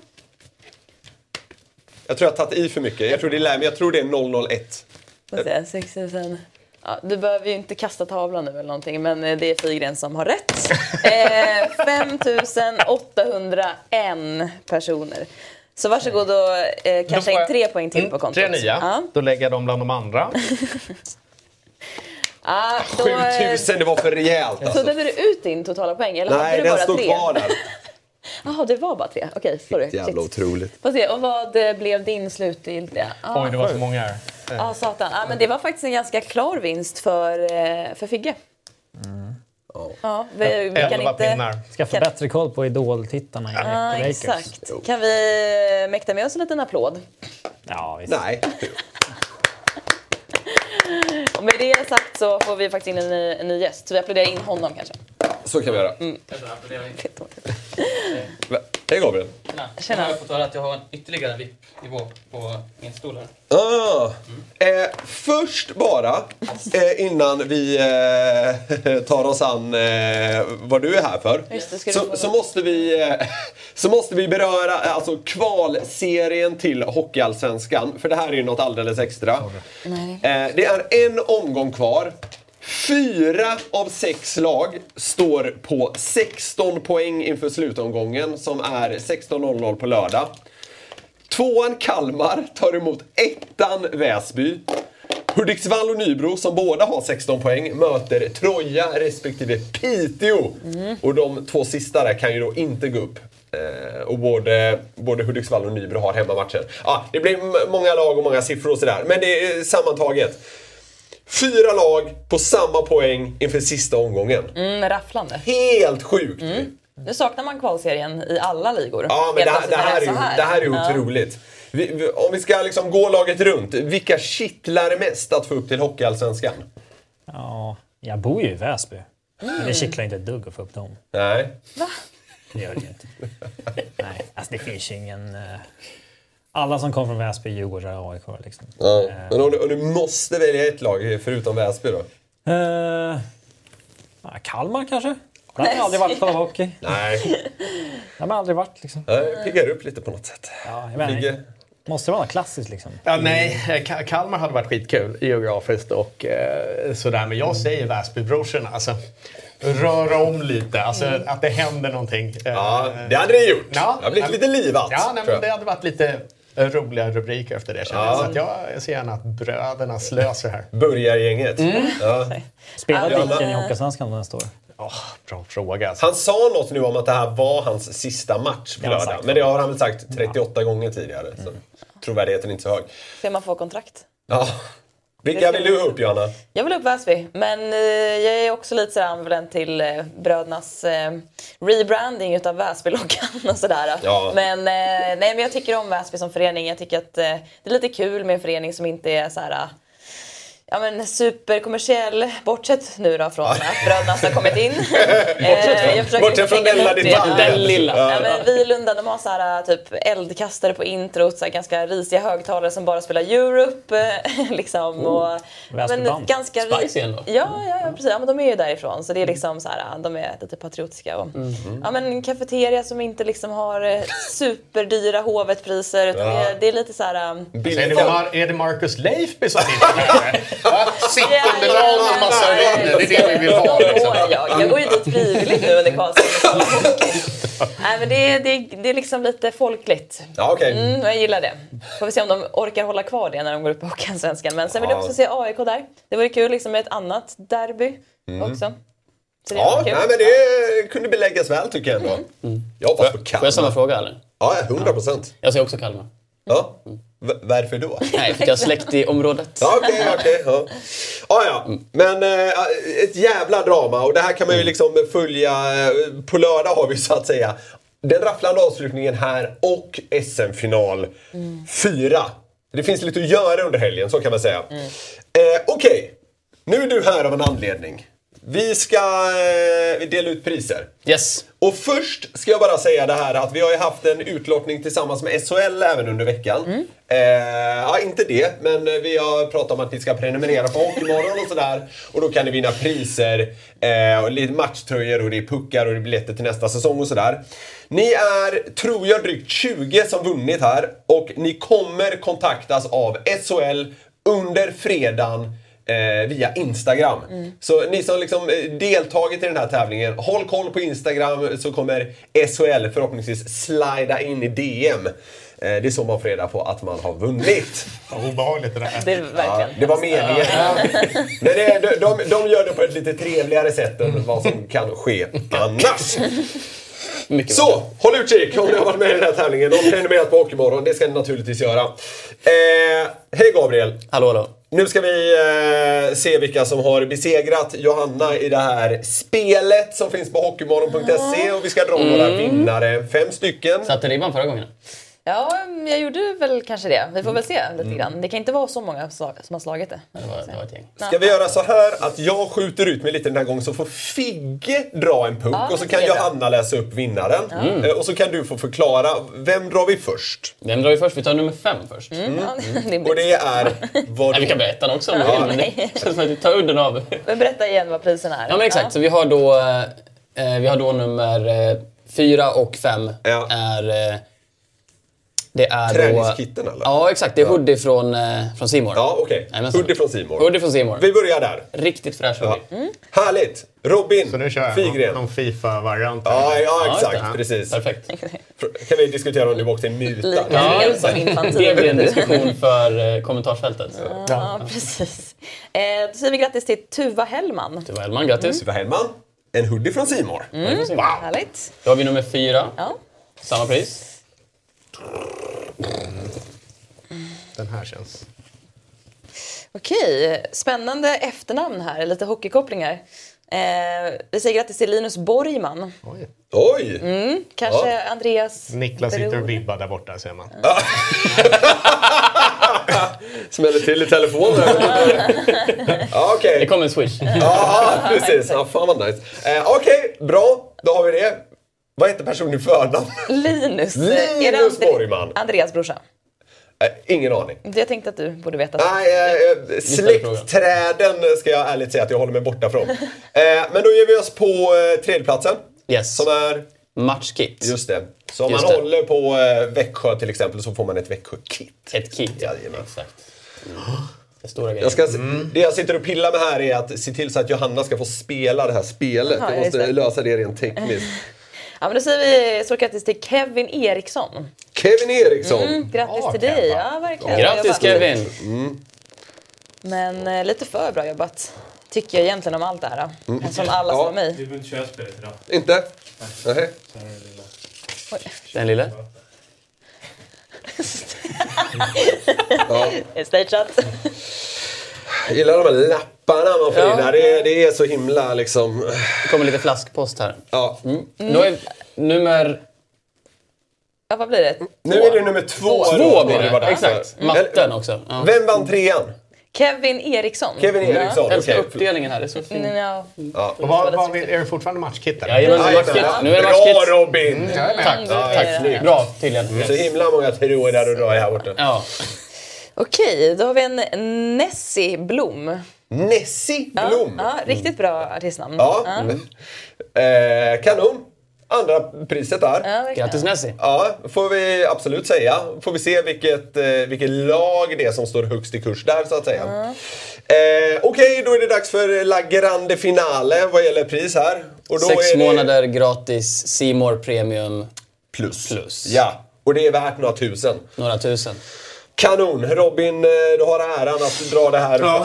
[SPEAKER 2] Jag tror jag har tagit i för mycket. Jag tror det är, lä- men jag tror det är 001.
[SPEAKER 3] Får se, 6 000. Ja, du behöver ju inte kasta tavlan nu eller någonting, men eh, det är Figren som har rätt. Eh, 5 801 personer. Så varsågod och eh,
[SPEAKER 4] Då
[SPEAKER 3] casha
[SPEAKER 4] får
[SPEAKER 3] in
[SPEAKER 4] jag-
[SPEAKER 3] tre poäng till
[SPEAKER 4] Mm,
[SPEAKER 3] på kontot.
[SPEAKER 4] Tre nya.
[SPEAKER 3] Ja.
[SPEAKER 4] Då lägger jag dem bland de andra.
[SPEAKER 3] Ja, då, eh,
[SPEAKER 2] 7000, det var för rejält
[SPEAKER 3] Så
[SPEAKER 2] alltså.
[SPEAKER 3] där du ut din totala poäng? Eller
[SPEAKER 2] Nej,
[SPEAKER 3] hade du
[SPEAKER 2] den
[SPEAKER 3] bara
[SPEAKER 2] stod
[SPEAKER 3] tre?
[SPEAKER 2] kvar där.
[SPEAKER 3] Jaha, det var bara tre. Okej, sorry.
[SPEAKER 2] Jävla
[SPEAKER 3] Shit.
[SPEAKER 2] otroligt.
[SPEAKER 3] Får se, och vad eh, blev din slutgiltiga? Ah,
[SPEAKER 4] Oj, det var så många här.
[SPEAKER 3] ah, satan. Ah, men det var faktiskt en ganska klar vinst för, eh, för Figge. Ja, vi, vi kan
[SPEAKER 4] Elva
[SPEAKER 3] inte...
[SPEAKER 4] pinnar.
[SPEAKER 5] Ska få
[SPEAKER 3] Kan-
[SPEAKER 5] bättre koll på Idol-tittarna i
[SPEAKER 3] Ja,
[SPEAKER 5] Lakers.
[SPEAKER 3] exakt. Kan vi eh, mäkta med oss en liten applåd?
[SPEAKER 5] Ja, visst.
[SPEAKER 2] Nej.
[SPEAKER 3] Och med det sagt så får vi faktiskt in en ny, en ny gäst, så vi applåderar in honom kanske.
[SPEAKER 2] Så kan vi göra.
[SPEAKER 3] Mm.
[SPEAKER 2] Va? Hej Gabriel.
[SPEAKER 3] Tjena.
[SPEAKER 6] Tjena. Jag har fått höra att jag har en ytterligare VIP-nivå på min stol här.
[SPEAKER 2] Ah. Eh, först bara, eh, innan vi eh, tar oss an eh, vad du är här för.
[SPEAKER 3] Just det, ska du få-
[SPEAKER 2] så, så, måste vi, eh, så måste vi beröra eh, alltså, kvalserien till Hockeyallsvenskan. För det här är ju något alldeles extra. Eh, det är en omgång kvar. Fyra av sex lag står på 16 poäng inför slutomgången som är 16.00 på lördag. Tvåan Kalmar tar emot ettan Väsby. Hudiksvall och Nybro, som båda har 16 poäng, möter Troja respektive Piteå. Och de två sista där kan ju då inte gå upp. Eh, och både, både Hudiksvall och Nybro har hemmamatcher. Ja, ah, det blir m- många lag och många siffror och sådär, men det är eh, sammantaget. Fyra lag på samma poäng inför sista omgången.
[SPEAKER 3] Mm, rafflande.
[SPEAKER 2] Helt sjukt!
[SPEAKER 3] Nu saknar man kvalserien i alla ligor.
[SPEAKER 2] Ja, men
[SPEAKER 3] Helt
[SPEAKER 2] det här,
[SPEAKER 3] plötsligt
[SPEAKER 2] det
[SPEAKER 3] när
[SPEAKER 2] här är ju,
[SPEAKER 3] så
[SPEAKER 2] det här är ju
[SPEAKER 3] Ja.
[SPEAKER 2] otroligt. Vi, vi, om vi ska liksom gå laget runt, vilka kittlar mest att få upp till Hockeyallsvenskan?
[SPEAKER 5] Ja, jag bor ju i Väsby.
[SPEAKER 3] Mm.
[SPEAKER 5] Men det kittlar inte ett dugg att få upp dem.
[SPEAKER 2] Nej.
[SPEAKER 5] Det gör det ju inte. Nej, alltså det finns ju ingen... eh, Alla som kom från Väsby, Djurgården och AIK liksom.
[SPEAKER 2] Ja. Eh, Men om du, om du måste välja ett lag eh, förutom Väsby då?
[SPEAKER 5] Eh, ja, Kalmar kanske? Där har jag aldrig varit på hockey.
[SPEAKER 2] Nej.
[SPEAKER 5] Där har man aldrig varit liksom.
[SPEAKER 2] Jag piggar upp lite på något sätt.
[SPEAKER 5] Ja, jag vet
[SPEAKER 2] Ligger-
[SPEAKER 5] inte. Måste det vara något klassiskt liksom?
[SPEAKER 4] Ja, nej, Ka- Kalmar hade varit skitkul geografiskt och eh, sådär. Men jag säger Väsbybrorsorna. Alltså, röra om lite. Alltså, att det händer någonting. Eh,
[SPEAKER 2] Ja, det hade det gjort.
[SPEAKER 4] Ja.
[SPEAKER 2] det har blivit lite livat.
[SPEAKER 4] Ja, nej,
[SPEAKER 2] tror
[SPEAKER 4] men
[SPEAKER 2] jag.
[SPEAKER 4] det hade varit lite roliga rubriker efter det känner jag. Så att jag ser gärna att bröderna slöser här.
[SPEAKER 2] Börjargänget. Ja.
[SPEAKER 5] Spelar
[SPEAKER 2] Ja, men-
[SPEAKER 5] Dicken i Hockeyallsvenskan nästa år?
[SPEAKER 4] Åh, bra fråga. Alltså.
[SPEAKER 2] Han sa något nu om att det här var hans sista match på
[SPEAKER 5] Det har han
[SPEAKER 2] lördag.
[SPEAKER 5] sagt.
[SPEAKER 2] Men det har han väl sagt 38 gånger tidigare. Så trovärdigheten är inte så hög.
[SPEAKER 3] Se om man får kontrakt.
[SPEAKER 2] Ja. Vilka vill du ha upp, Johanna?
[SPEAKER 3] Jag vill upp Väsby, men eh, jag är också lite sådär ambivalent till eh, brödernas eh, rebranding utav Väsby-loggan och sådär.
[SPEAKER 2] Ja.
[SPEAKER 3] Men, eh, nej, men jag tycker om Väsby som förening. Jag tycker att eh, det är lite kul med en förening som inte är såhär eh, Ja men superkommersiell, bortsett nu då från att Brödernas har kommit in. Eh, jag försöker
[SPEAKER 2] bortsett från
[SPEAKER 3] tänka
[SPEAKER 2] den lilla detaljen.
[SPEAKER 3] bort det. Ja.
[SPEAKER 2] Den lilla.
[SPEAKER 3] Ja, men vi i Lunda de har så här, typ eldkastare på introt, så här, ganska risiga högtalare som bara spelar Europe. eh, liksom, och, ja,
[SPEAKER 4] alltså
[SPEAKER 3] men,
[SPEAKER 5] Västerband.
[SPEAKER 3] ganska ri-
[SPEAKER 6] Spicy ändå.
[SPEAKER 3] Ja, ja,
[SPEAKER 4] Mm.
[SPEAKER 3] ja precis. Ja, men de är ju därifrån så det är liksom så här, de är lite patriotiska. Och,
[SPEAKER 4] Mm.
[SPEAKER 3] ja, men en kafeteria som inte liksom har eh, superdyra hovetpriser utan det, är- det är lite så här... um,
[SPEAKER 4] Är det,
[SPEAKER 2] Billiga.
[SPEAKER 4] Mar- är det Marcus Leifby som sitter Sittunderlag och en massa
[SPEAKER 3] Ja,
[SPEAKER 4] vänner, det är det vi vill
[SPEAKER 3] de
[SPEAKER 4] ha. Liksom.
[SPEAKER 3] går jag. jag går ju dit frivilligt nu under Karlsson. Nej, men det, är- det, är- det är liksom lite folkligt.
[SPEAKER 2] Ja, okej.
[SPEAKER 3] Mm, jag gillar det. Får vi se om de orkar hålla kvar det när de går upp i Hockeyallsvenskan. Men sen vill jag
[SPEAKER 2] Ja.
[SPEAKER 3] också se AIK där. Det vore kul liksom, med ett annat derby också. Så det
[SPEAKER 2] Mm. Ja,
[SPEAKER 3] var kul.
[SPEAKER 2] nej, men det kunde beläggas väl tycker
[SPEAKER 3] Mm.
[SPEAKER 2] jag ändå. Jag hoppas på
[SPEAKER 6] Får jag samma
[SPEAKER 2] Kalmar.
[SPEAKER 6] fråga eller?
[SPEAKER 2] Ja, 100 procent.
[SPEAKER 6] Jag säger också Kalmar.
[SPEAKER 2] Ja. V- varför då?
[SPEAKER 7] Nej, för att jag har släkt i området.
[SPEAKER 2] Ja, Okej, okej. ja. Ja, ja. Men eh, ett jävla drama och det här kan man ju liksom följa. eh, På lördag har vi så att säga den rafflande avslutningen här och SM-final 4. Det finns lite att göra under helgen, så kan man säga. Eh, okej, nu är du här av en anledning. Vi ska eh, dela ut priser.
[SPEAKER 7] Yes.
[SPEAKER 2] Och först ska jag bara säga det här att vi har ju haft en utlottning tillsammans med SHL även under veckan. Eh, ja, inte det, men eh, vi har pratat om att ni ska prenumerera på Hockeymorgon och sådär. Och då kan ni vinna priser, eh, och lite matchtröjor och det är puckar och det är biljetter till nästa säsong och sådär. Ni är, tror jag, drygt 20 som vunnit här och ni kommer kontaktas av SHL under fredagen eh, via Instagram. Så ni som liksom eh, deltagit i den här tävlingen, håll koll på Instagram så kommer SHL förhoppningsvis slida in i DM. Eh, det är så man får reda på att man har vunnit.
[SPEAKER 4] Vad obehagligt det där
[SPEAKER 3] Det är verkligen.
[SPEAKER 2] Det var meningen. Men det, de, de, de gör det på ett lite trevligare sätt än vad som kan ske annars.
[SPEAKER 7] Mycket bra.
[SPEAKER 2] Så, håll utkik om ni har varit med i den här tävlingen. Och prenumererat på Hockeymorgon, det ska ni naturligtvis göra. Eh, hej Gabriel!
[SPEAKER 7] Hallå, hallå.
[SPEAKER 2] Nu ska vi eh, se vilka som har besegrat Johanna i det här spelet som finns på hockeymorgon.se och vi ska dra
[SPEAKER 7] Mm.
[SPEAKER 2] några vinnare. Fem stycken.
[SPEAKER 7] Satte ribban förra gången?
[SPEAKER 3] Ja, jag gjorde väl kanske det. Vi får väl se
[SPEAKER 2] Mm.
[SPEAKER 3] lite grann. Det kan inte vara så många slag- som har slagit det.
[SPEAKER 7] Det var, det var ett gäng.
[SPEAKER 2] Ska vi göra så här att jag skjuter ut mig lite den här gången så får Figge dra en puck
[SPEAKER 3] Ja,
[SPEAKER 2] och så
[SPEAKER 3] det
[SPEAKER 2] kan
[SPEAKER 3] är bra.
[SPEAKER 2] Johanna läsa upp vinnaren.
[SPEAKER 7] Mm.
[SPEAKER 2] Eh, Och så kan du få förklara. Vem drar vi först?
[SPEAKER 7] Vem drar vi först? Vi tar nummer fem först.
[SPEAKER 2] Mm.
[SPEAKER 3] Mm, Ja, det är
[SPEAKER 2] Och det är... Vad
[SPEAKER 7] Nej, vi kan börja ettan också om vi vill, men det känns som att vi tar udden av.
[SPEAKER 3] Men berätta igen vad priserna är.
[SPEAKER 7] Ja, men exakt. Så vi har då, eh, vi har då nummer eh, fyra och fem.
[SPEAKER 2] Ja.
[SPEAKER 7] Är, eh, det är
[SPEAKER 2] Träningskitten,
[SPEAKER 7] då,
[SPEAKER 2] eller?
[SPEAKER 7] Ja, exakt. Det är hoodie från, eh, från C More.
[SPEAKER 2] Ja, okej.
[SPEAKER 7] Jajamensan.
[SPEAKER 2] Hoodie från Simor.
[SPEAKER 7] Hoodie från C More.
[SPEAKER 2] Vi börjar där.
[SPEAKER 7] Riktigt fräsch
[SPEAKER 2] Ja.
[SPEAKER 7] hoodie.
[SPEAKER 2] Härligt!
[SPEAKER 4] Så nu
[SPEAKER 2] Robin
[SPEAKER 4] kör jag
[SPEAKER 2] Figren.
[SPEAKER 4] någon, någon Fifa-variant.
[SPEAKER 2] Ja, ja,
[SPEAKER 7] just det.
[SPEAKER 2] exakt. Precis.
[SPEAKER 7] Perfekt.
[SPEAKER 2] Fr- Kan vi diskutera om du åkte en muta?
[SPEAKER 3] Lika
[SPEAKER 7] Ja,
[SPEAKER 3] fel
[SPEAKER 7] just
[SPEAKER 3] som
[SPEAKER 7] det. det blir en
[SPEAKER 3] infantil.
[SPEAKER 7] diskussion för eh, kommentarsfältet.
[SPEAKER 3] Ja, precis. Eh, då säger vi grattis till Tuva Hellman.
[SPEAKER 7] Det var Hellman,
[SPEAKER 3] Mm.
[SPEAKER 7] grattis.
[SPEAKER 2] Tuva Hellman, en hoodie från Simor.
[SPEAKER 7] Mm.
[SPEAKER 3] Härligt.
[SPEAKER 7] Då har vi nummer fyra,
[SPEAKER 3] Mm. Ja.
[SPEAKER 7] samma pris.
[SPEAKER 4] Den här känns...
[SPEAKER 3] Okej, spännande efternamn här. Lite hockeykopplingar. Eh, vi säger grattis till Linus Borgman.
[SPEAKER 4] Oj.
[SPEAKER 2] Oj!
[SPEAKER 3] Kanske Andreas
[SPEAKER 4] Niklas
[SPEAKER 3] Bror.
[SPEAKER 4] sitter och vibbar där borta ser man.
[SPEAKER 2] Smäller till i telefonen. Ja,
[SPEAKER 7] Det
[SPEAKER 2] Okej.
[SPEAKER 7] kommer en swish.
[SPEAKER 2] Ja, precis. Ja, fan vad nice. Eh, Okej, bra. Då har vi det. Vad heter personen i förnamn?
[SPEAKER 3] Linus.
[SPEAKER 2] Linus
[SPEAKER 3] Är det Andre-
[SPEAKER 2] Borgman.
[SPEAKER 3] Andreas brorsa.
[SPEAKER 2] Eh, ingen aning.
[SPEAKER 3] Jag tänkte att du borde veta.
[SPEAKER 2] Nej, eh, eh, släktträden ska jag ärligt säga att jag håller mig borta från. Eh, men då ger vi oss på eh, tredjeplatsen.
[SPEAKER 7] Yes.
[SPEAKER 2] Som är...
[SPEAKER 7] Matchkit.
[SPEAKER 2] Just det. Så om
[SPEAKER 7] Just
[SPEAKER 2] man
[SPEAKER 7] det.
[SPEAKER 2] håller på eh, Växjö till exempel så får man ett Växjö-kit.
[SPEAKER 7] Ett kit, ja.
[SPEAKER 2] Jajamän.
[SPEAKER 7] Exakt. Det är stora grejer.
[SPEAKER 2] Jag ska,
[SPEAKER 7] Mm.
[SPEAKER 2] Det jag sitter och pillar med här är att se till så att Johanna ska få spela det här spelet.
[SPEAKER 3] Ja,
[SPEAKER 2] jag
[SPEAKER 3] just
[SPEAKER 2] måste
[SPEAKER 3] det.
[SPEAKER 2] lösa det rent tekniskt.
[SPEAKER 3] Ja, men då säger vi stort grattis till Kevin Eriksson.
[SPEAKER 2] Kevin Eriksson!
[SPEAKER 3] Grattis
[SPEAKER 4] Ja,
[SPEAKER 3] till dig.
[SPEAKER 4] Kevin.
[SPEAKER 3] Ja, verkligen. Bra
[SPEAKER 7] Grattis
[SPEAKER 3] jobbat.
[SPEAKER 7] Kevin!
[SPEAKER 3] Men eh, lite för bra jobbat. Tycker jag egentligen om allt det här. då. Som alla som
[SPEAKER 2] Mm. Ja.
[SPEAKER 3] var med i.
[SPEAKER 8] Vi vill inte köra spelet idag.
[SPEAKER 2] Inte? Nej.
[SPEAKER 8] Så här är det lilla.
[SPEAKER 7] Den lille.
[SPEAKER 3] Eh, Stageat.
[SPEAKER 2] Jag gillar de här lapparna man får in där. Det, är- det är så himla liksom...
[SPEAKER 7] Det kommer Mm. lite flaskpost här.
[SPEAKER 2] Ja.
[SPEAKER 3] Mm.
[SPEAKER 7] Då är nummer
[SPEAKER 3] Ja, vad blir det?
[SPEAKER 2] Nu är det nummer två. då,
[SPEAKER 7] två
[SPEAKER 2] vad
[SPEAKER 7] blir
[SPEAKER 2] var
[SPEAKER 7] det.
[SPEAKER 2] där.
[SPEAKER 7] Exakt. Matten
[SPEAKER 2] Mm. Eller-
[SPEAKER 7] också. Ja.
[SPEAKER 2] Vem vann trean?
[SPEAKER 3] Kevin Eriksson.
[SPEAKER 2] Kevin Eriksson.
[SPEAKER 7] Mm. Jag älskar
[SPEAKER 2] okej.
[SPEAKER 7] uppdelningen här. Det är så fint.
[SPEAKER 3] Ja,
[SPEAKER 4] Och vad, vad, vill- är det fortfarande matchkit? där?
[SPEAKER 7] Jajamän, det är
[SPEAKER 2] Jajamän.
[SPEAKER 7] matchkit. Nu är det Mm.
[SPEAKER 2] Bra
[SPEAKER 7] matchkit.
[SPEAKER 2] Robin!
[SPEAKER 7] Tack,
[SPEAKER 3] Ja, det är
[SPEAKER 7] tack.
[SPEAKER 3] det.
[SPEAKER 7] Bra, tydligen.
[SPEAKER 2] Så himla många teorier där och då här borta.
[SPEAKER 7] Ja.
[SPEAKER 3] Okej, då har vi en Nessie Blom.
[SPEAKER 2] Nessie Blom!
[SPEAKER 3] Ja, riktigt bra artistnamn.
[SPEAKER 2] Ja. Eh, kanon! Andra priset där.
[SPEAKER 3] Ja, verkligen.
[SPEAKER 7] Grattis Nessie.
[SPEAKER 2] Ja, får vi absolut säga. Får vi se vilket, eh, vilket lag det är som står högst i kurs där så att säga. Eh, Okej, då är det dags för La Grande Finale vad gäller pris här. Och då
[SPEAKER 7] Sex
[SPEAKER 2] är det
[SPEAKER 7] månader gratis C More Premium.
[SPEAKER 2] plus.
[SPEAKER 7] plus.
[SPEAKER 2] Ja, och det är värt några tusen.
[SPEAKER 7] Några tusen.
[SPEAKER 2] Kanon! Robin, eh, du har äran att dra det här.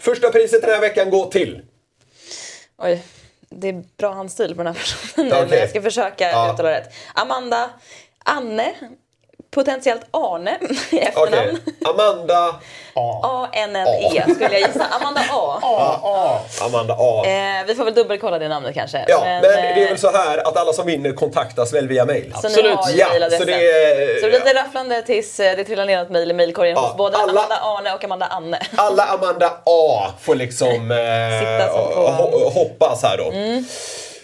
[SPEAKER 2] Första priset den här veckan går till...
[SPEAKER 3] Oj, det är bra handstil på den här personen. nu, men
[SPEAKER 2] Okej.
[SPEAKER 3] Jag ska försöka
[SPEAKER 2] Ja.
[SPEAKER 3] uttala rätt. Amanda Anne, potentiellt Arne i
[SPEAKER 2] Okej.
[SPEAKER 3] efternamn.
[SPEAKER 2] Amanda
[SPEAKER 3] A-N-N-E E, skulle jag gissa. Amanda A.
[SPEAKER 2] Amanda A.
[SPEAKER 3] Eh, vi får väl dubbelkolla det namnet kanske.
[SPEAKER 2] Ja, men, det är
[SPEAKER 3] eh,
[SPEAKER 2] väl så här att alla som vinner kontaktas väl via mail.
[SPEAKER 3] Så ni
[SPEAKER 7] Absolut.
[SPEAKER 3] har ju
[SPEAKER 2] Ja,
[SPEAKER 3] mailadressen.
[SPEAKER 2] så det är-
[SPEAKER 3] så det blir lite rafflande tills eh, det trillar ner ett mejl i mejlkorgen
[SPEAKER 2] Ja,
[SPEAKER 3] hos både
[SPEAKER 2] alla-
[SPEAKER 3] Amanda Arne och Amanda Anne.
[SPEAKER 2] Alla Amanda A får liksom eh,
[SPEAKER 3] Sitta som Mm. på-
[SPEAKER 2] ho- hoppas här då.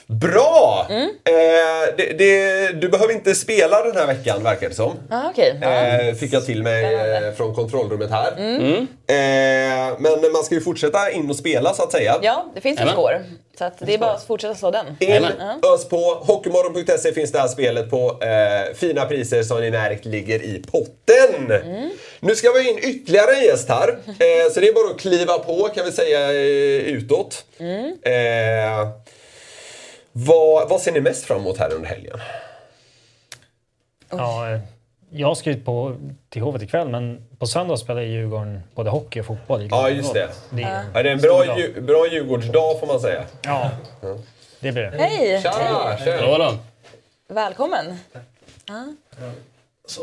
[SPEAKER 2] Bra!
[SPEAKER 3] Mm.
[SPEAKER 2] Eh, det, det, du behöver inte spela den här veckan verkar det som.
[SPEAKER 3] Ah, okej. Ja.
[SPEAKER 2] Eh, fick jag till mig
[SPEAKER 3] Spännande. Mm.
[SPEAKER 2] eh, från kontrollrummet här. Eh, men man ska ju fortsätta in och spela så att säga.
[SPEAKER 3] ja, det finns ju
[SPEAKER 7] Jajamän.
[SPEAKER 3] skår. Så att det är bara att fortsätta slå den.
[SPEAKER 2] In,
[SPEAKER 7] Jajamän.
[SPEAKER 2] ös på. Hockeymorgon.se finns det här spelet på. Eh, fina priser som ni märkt ligger i potten. Nu ska vi ha in ytterligare en gäst här. Eh, så det är bara att kliva på kan vi säga eh, utåt. Eh, vad, vad ser ni mest fram emot här under helgen?
[SPEAKER 5] Ja, eh, jag ska ut på, till Hovet ikväll, men på söndag spelar Djurgården både hockey och fotboll. i
[SPEAKER 2] Ja, just det.
[SPEAKER 5] Det är,
[SPEAKER 2] Ja, det är en
[SPEAKER 5] Stor
[SPEAKER 2] bra,
[SPEAKER 5] dag.
[SPEAKER 2] ju, bra Djurgårdsdag får man säga.
[SPEAKER 5] ja, det blir det.
[SPEAKER 3] Hej!
[SPEAKER 2] Tja, tja.
[SPEAKER 7] Bra då.
[SPEAKER 3] Välkommen! Ja.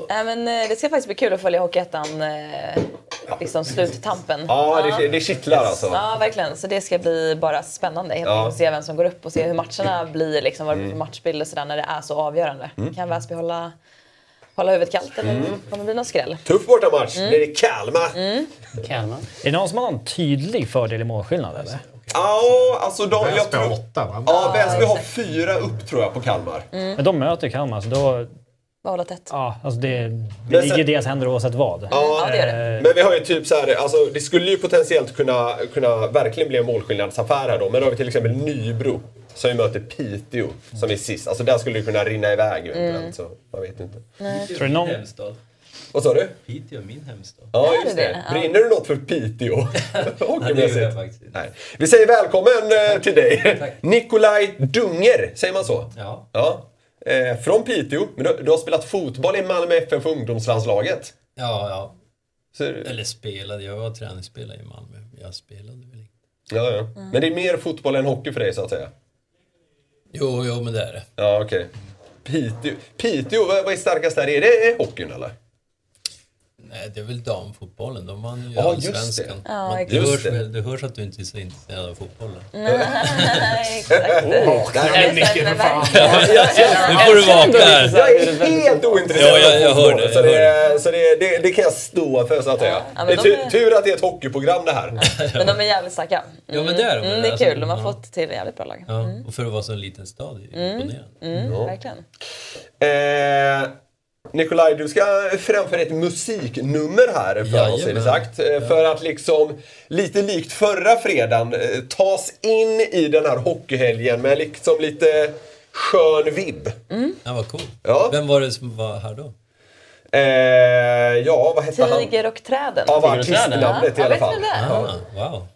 [SPEAKER 3] Äh, men, eh, det ska faktiskt bli kul att följa Hockeyettan, eh, liksom sluttampen.
[SPEAKER 2] Ja, det, det kittlar alltså.
[SPEAKER 3] Ja, verkligen. Så det ska bli bara spännande. Helt
[SPEAKER 2] Ja.
[SPEAKER 3] enkelt att se vem som går upp och se hur matcherna blir. Liksom, vad det blir för matchbild och sådär när det är så avgörande. Kan Väsby hålla, hålla huvudet kallt eller kommer det bli någon skräll?
[SPEAKER 2] Tuff bortamatch nere i Kalmar.
[SPEAKER 7] Kalmar.
[SPEAKER 5] Är det någon som har någon tydlig fördel i målskillnad eller?
[SPEAKER 2] Ja, alltså de... Jag
[SPEAKER 4] Väsby har
[SPEAKER 2] tror,
[SPEAKER 4] åtta, va?
[SPEAKER 2] ja, Väsby har fyra upp tror jag på Kalmar.
[SPEAKER 5] Men de möter ju Kalmar, så då...
[SPEAKER 3] Bara hålla tätt.
[SPEAKER 5] Ja, alltså det, det
[SPEAKER 2] sen-
[SPEAKER 5] ligger i deras händer oavsett vad.
[SPEAKER 3] Ja, det gör det.
[SPEAKER 2] Men vi har ju typ så här, alltså det skulle ju potentiellt kunna, kunna verkligen bli en målskillnadsaffär här då. Men då har vi till exempel Nybro som ju möter Piteå som är sist. Alltså där skulle det kunna rinna iväg eventuellt.
[SPEAKER 6] Mm.
[SPEAKER 2] Så man vet inte.
[SPEAKER 5] Tror du någon-
[SPEAKER 6] Min hemstad.
[SPEAKER 2] Vad sa du?
[SPEAKER 6] Piteå, min hemstad.
[SPEAKER 2] Ja,
[SPEAKER 3] Är
[SPEAKER 2] just det.
[SPEAKER 3] det det? Ja.
[SPEAKER 2] Brinner du något för Piteå?
[SPEAKER 6] Nej, det gör
[SPEAKER 2] Hockeymässigt?
[SPEAKER 6] jag faktiskt inte.
[SPEAKER 2] Nej. Vi säger välkommen eh, till dig.
[SPEAKER 6] Tack.
[SPEAKER 2] Nikolaj Dunger, säger man så?
[SPEAKER 6] Ja.
[SPEAKER 2] ja. Eh, från Piteå, men du, du har spelat fotboll i Malmö FF ungdomslandslaget.
[SPEAKER 6] Ja, ja.
[SPEAKER 2] Så,
[SPEAKER 6] Eller spelade. Jag var träningsspelare i Malmö. Jag spelade väl inte.
[SPEAKER 2] Ja, ja. Men det är mer fotboll än hockey för dig så att säga?
[SPEAKER 6] Jo, jo, men det är det.
[SPEAKER 2] Ja, okej. Piteå, Piteå vad, vad är starkast där? Är det hockeyn eller?
[SPEAKER 6] Nej, det är väl damfotbollen. De vann ju
[SPEAKER 2] Ja, just
[SPEAKER 6] allsvenskan.
[SPEAKER 3] Ja,
[SPEAKER 6] Man-
[SPEAKER 3] exakt.
[SPEAKER 6] du,
[SPEAKER 2] Just
[SPEAKER 6] hörs
[SPEAKER 2] det.
[SPEAKER 6] väl, du hörs att du inte är så intresserad av fotbollen.
[SPEAKER 3] Nej, exakt.
[SPEAKER 5] Nej, Micke, för fan.
[SPEAKER 6] Nu får du vakna här.
[SPEAKER 2] Jag är helt ointresserad
[SPEAKER 6] Ja, jag- jag
[SPEAKER 2] av fotboll.
[SPEAKER 6] hör det,
[SPEAKER 2] Så,
[SPEAKER 6] jag
[SPEAKER 2] det,
[SPEAKER 6] hör
[SPEAKER 2] är- så det, är- det, det kan jag stå för så att säga.
[SPEAKER 3] Ja, men
[SPEAKER 2] det är
[SPEAKER 3] de
[SPEAKER 2] tur,
[SPEAKER 3] är-
[SPEAKER 2] tur att det är ett hockeyprogram det här.
[SPEAKER 3] Men de är jävligt starka.
[SPEAKER 6] Ja, men det är de.
[SPEAKER 3] Mm, det är
[SPEAKER 6] Alltså,
[SPEAKER 3] kul. De har
[SPEAKER 6] ja.
[SPEAKER 3] fått till jävligt bra lag.
[SPEAKER 6] Ja, och för att vara så en liten stad, det är ju imponerande.
[SPEAKER 3] Mm, Verkligen.
[SPEAKER 2] Eh, Nikolaj, du ska framföra ett musiknummer här för oss, är det
[SPEAKER 6] Jajamän.
[SPEAKER 2] sagt. Eh, För att liksom, lite likt förra fredagen, eh, tas in i den här hockeyhelgen med liksom lite skön vibb.
[SPEAKER 6] Ja, vad cool.
[SPEAKER 2] Ja.
[SPEAKER 6] Vem var det som var här då?
[SPEAKER 2] Eh, ja, vad hette han?
[SPEAKER 3] Tiger och träden.
[SPEAKER 2] Ja, vad
[SPEAKER 7] och träden.
[SPEAKER 2] artistnamnet i
[SPEAKER 3] Ja,
[SPEAKER 2] alla
[SPEAKER 3] vet ni
[SPEAKER 2] fall.
[SPEAKER 3] vem det är?
[SPEAKER 6] Ah, wow.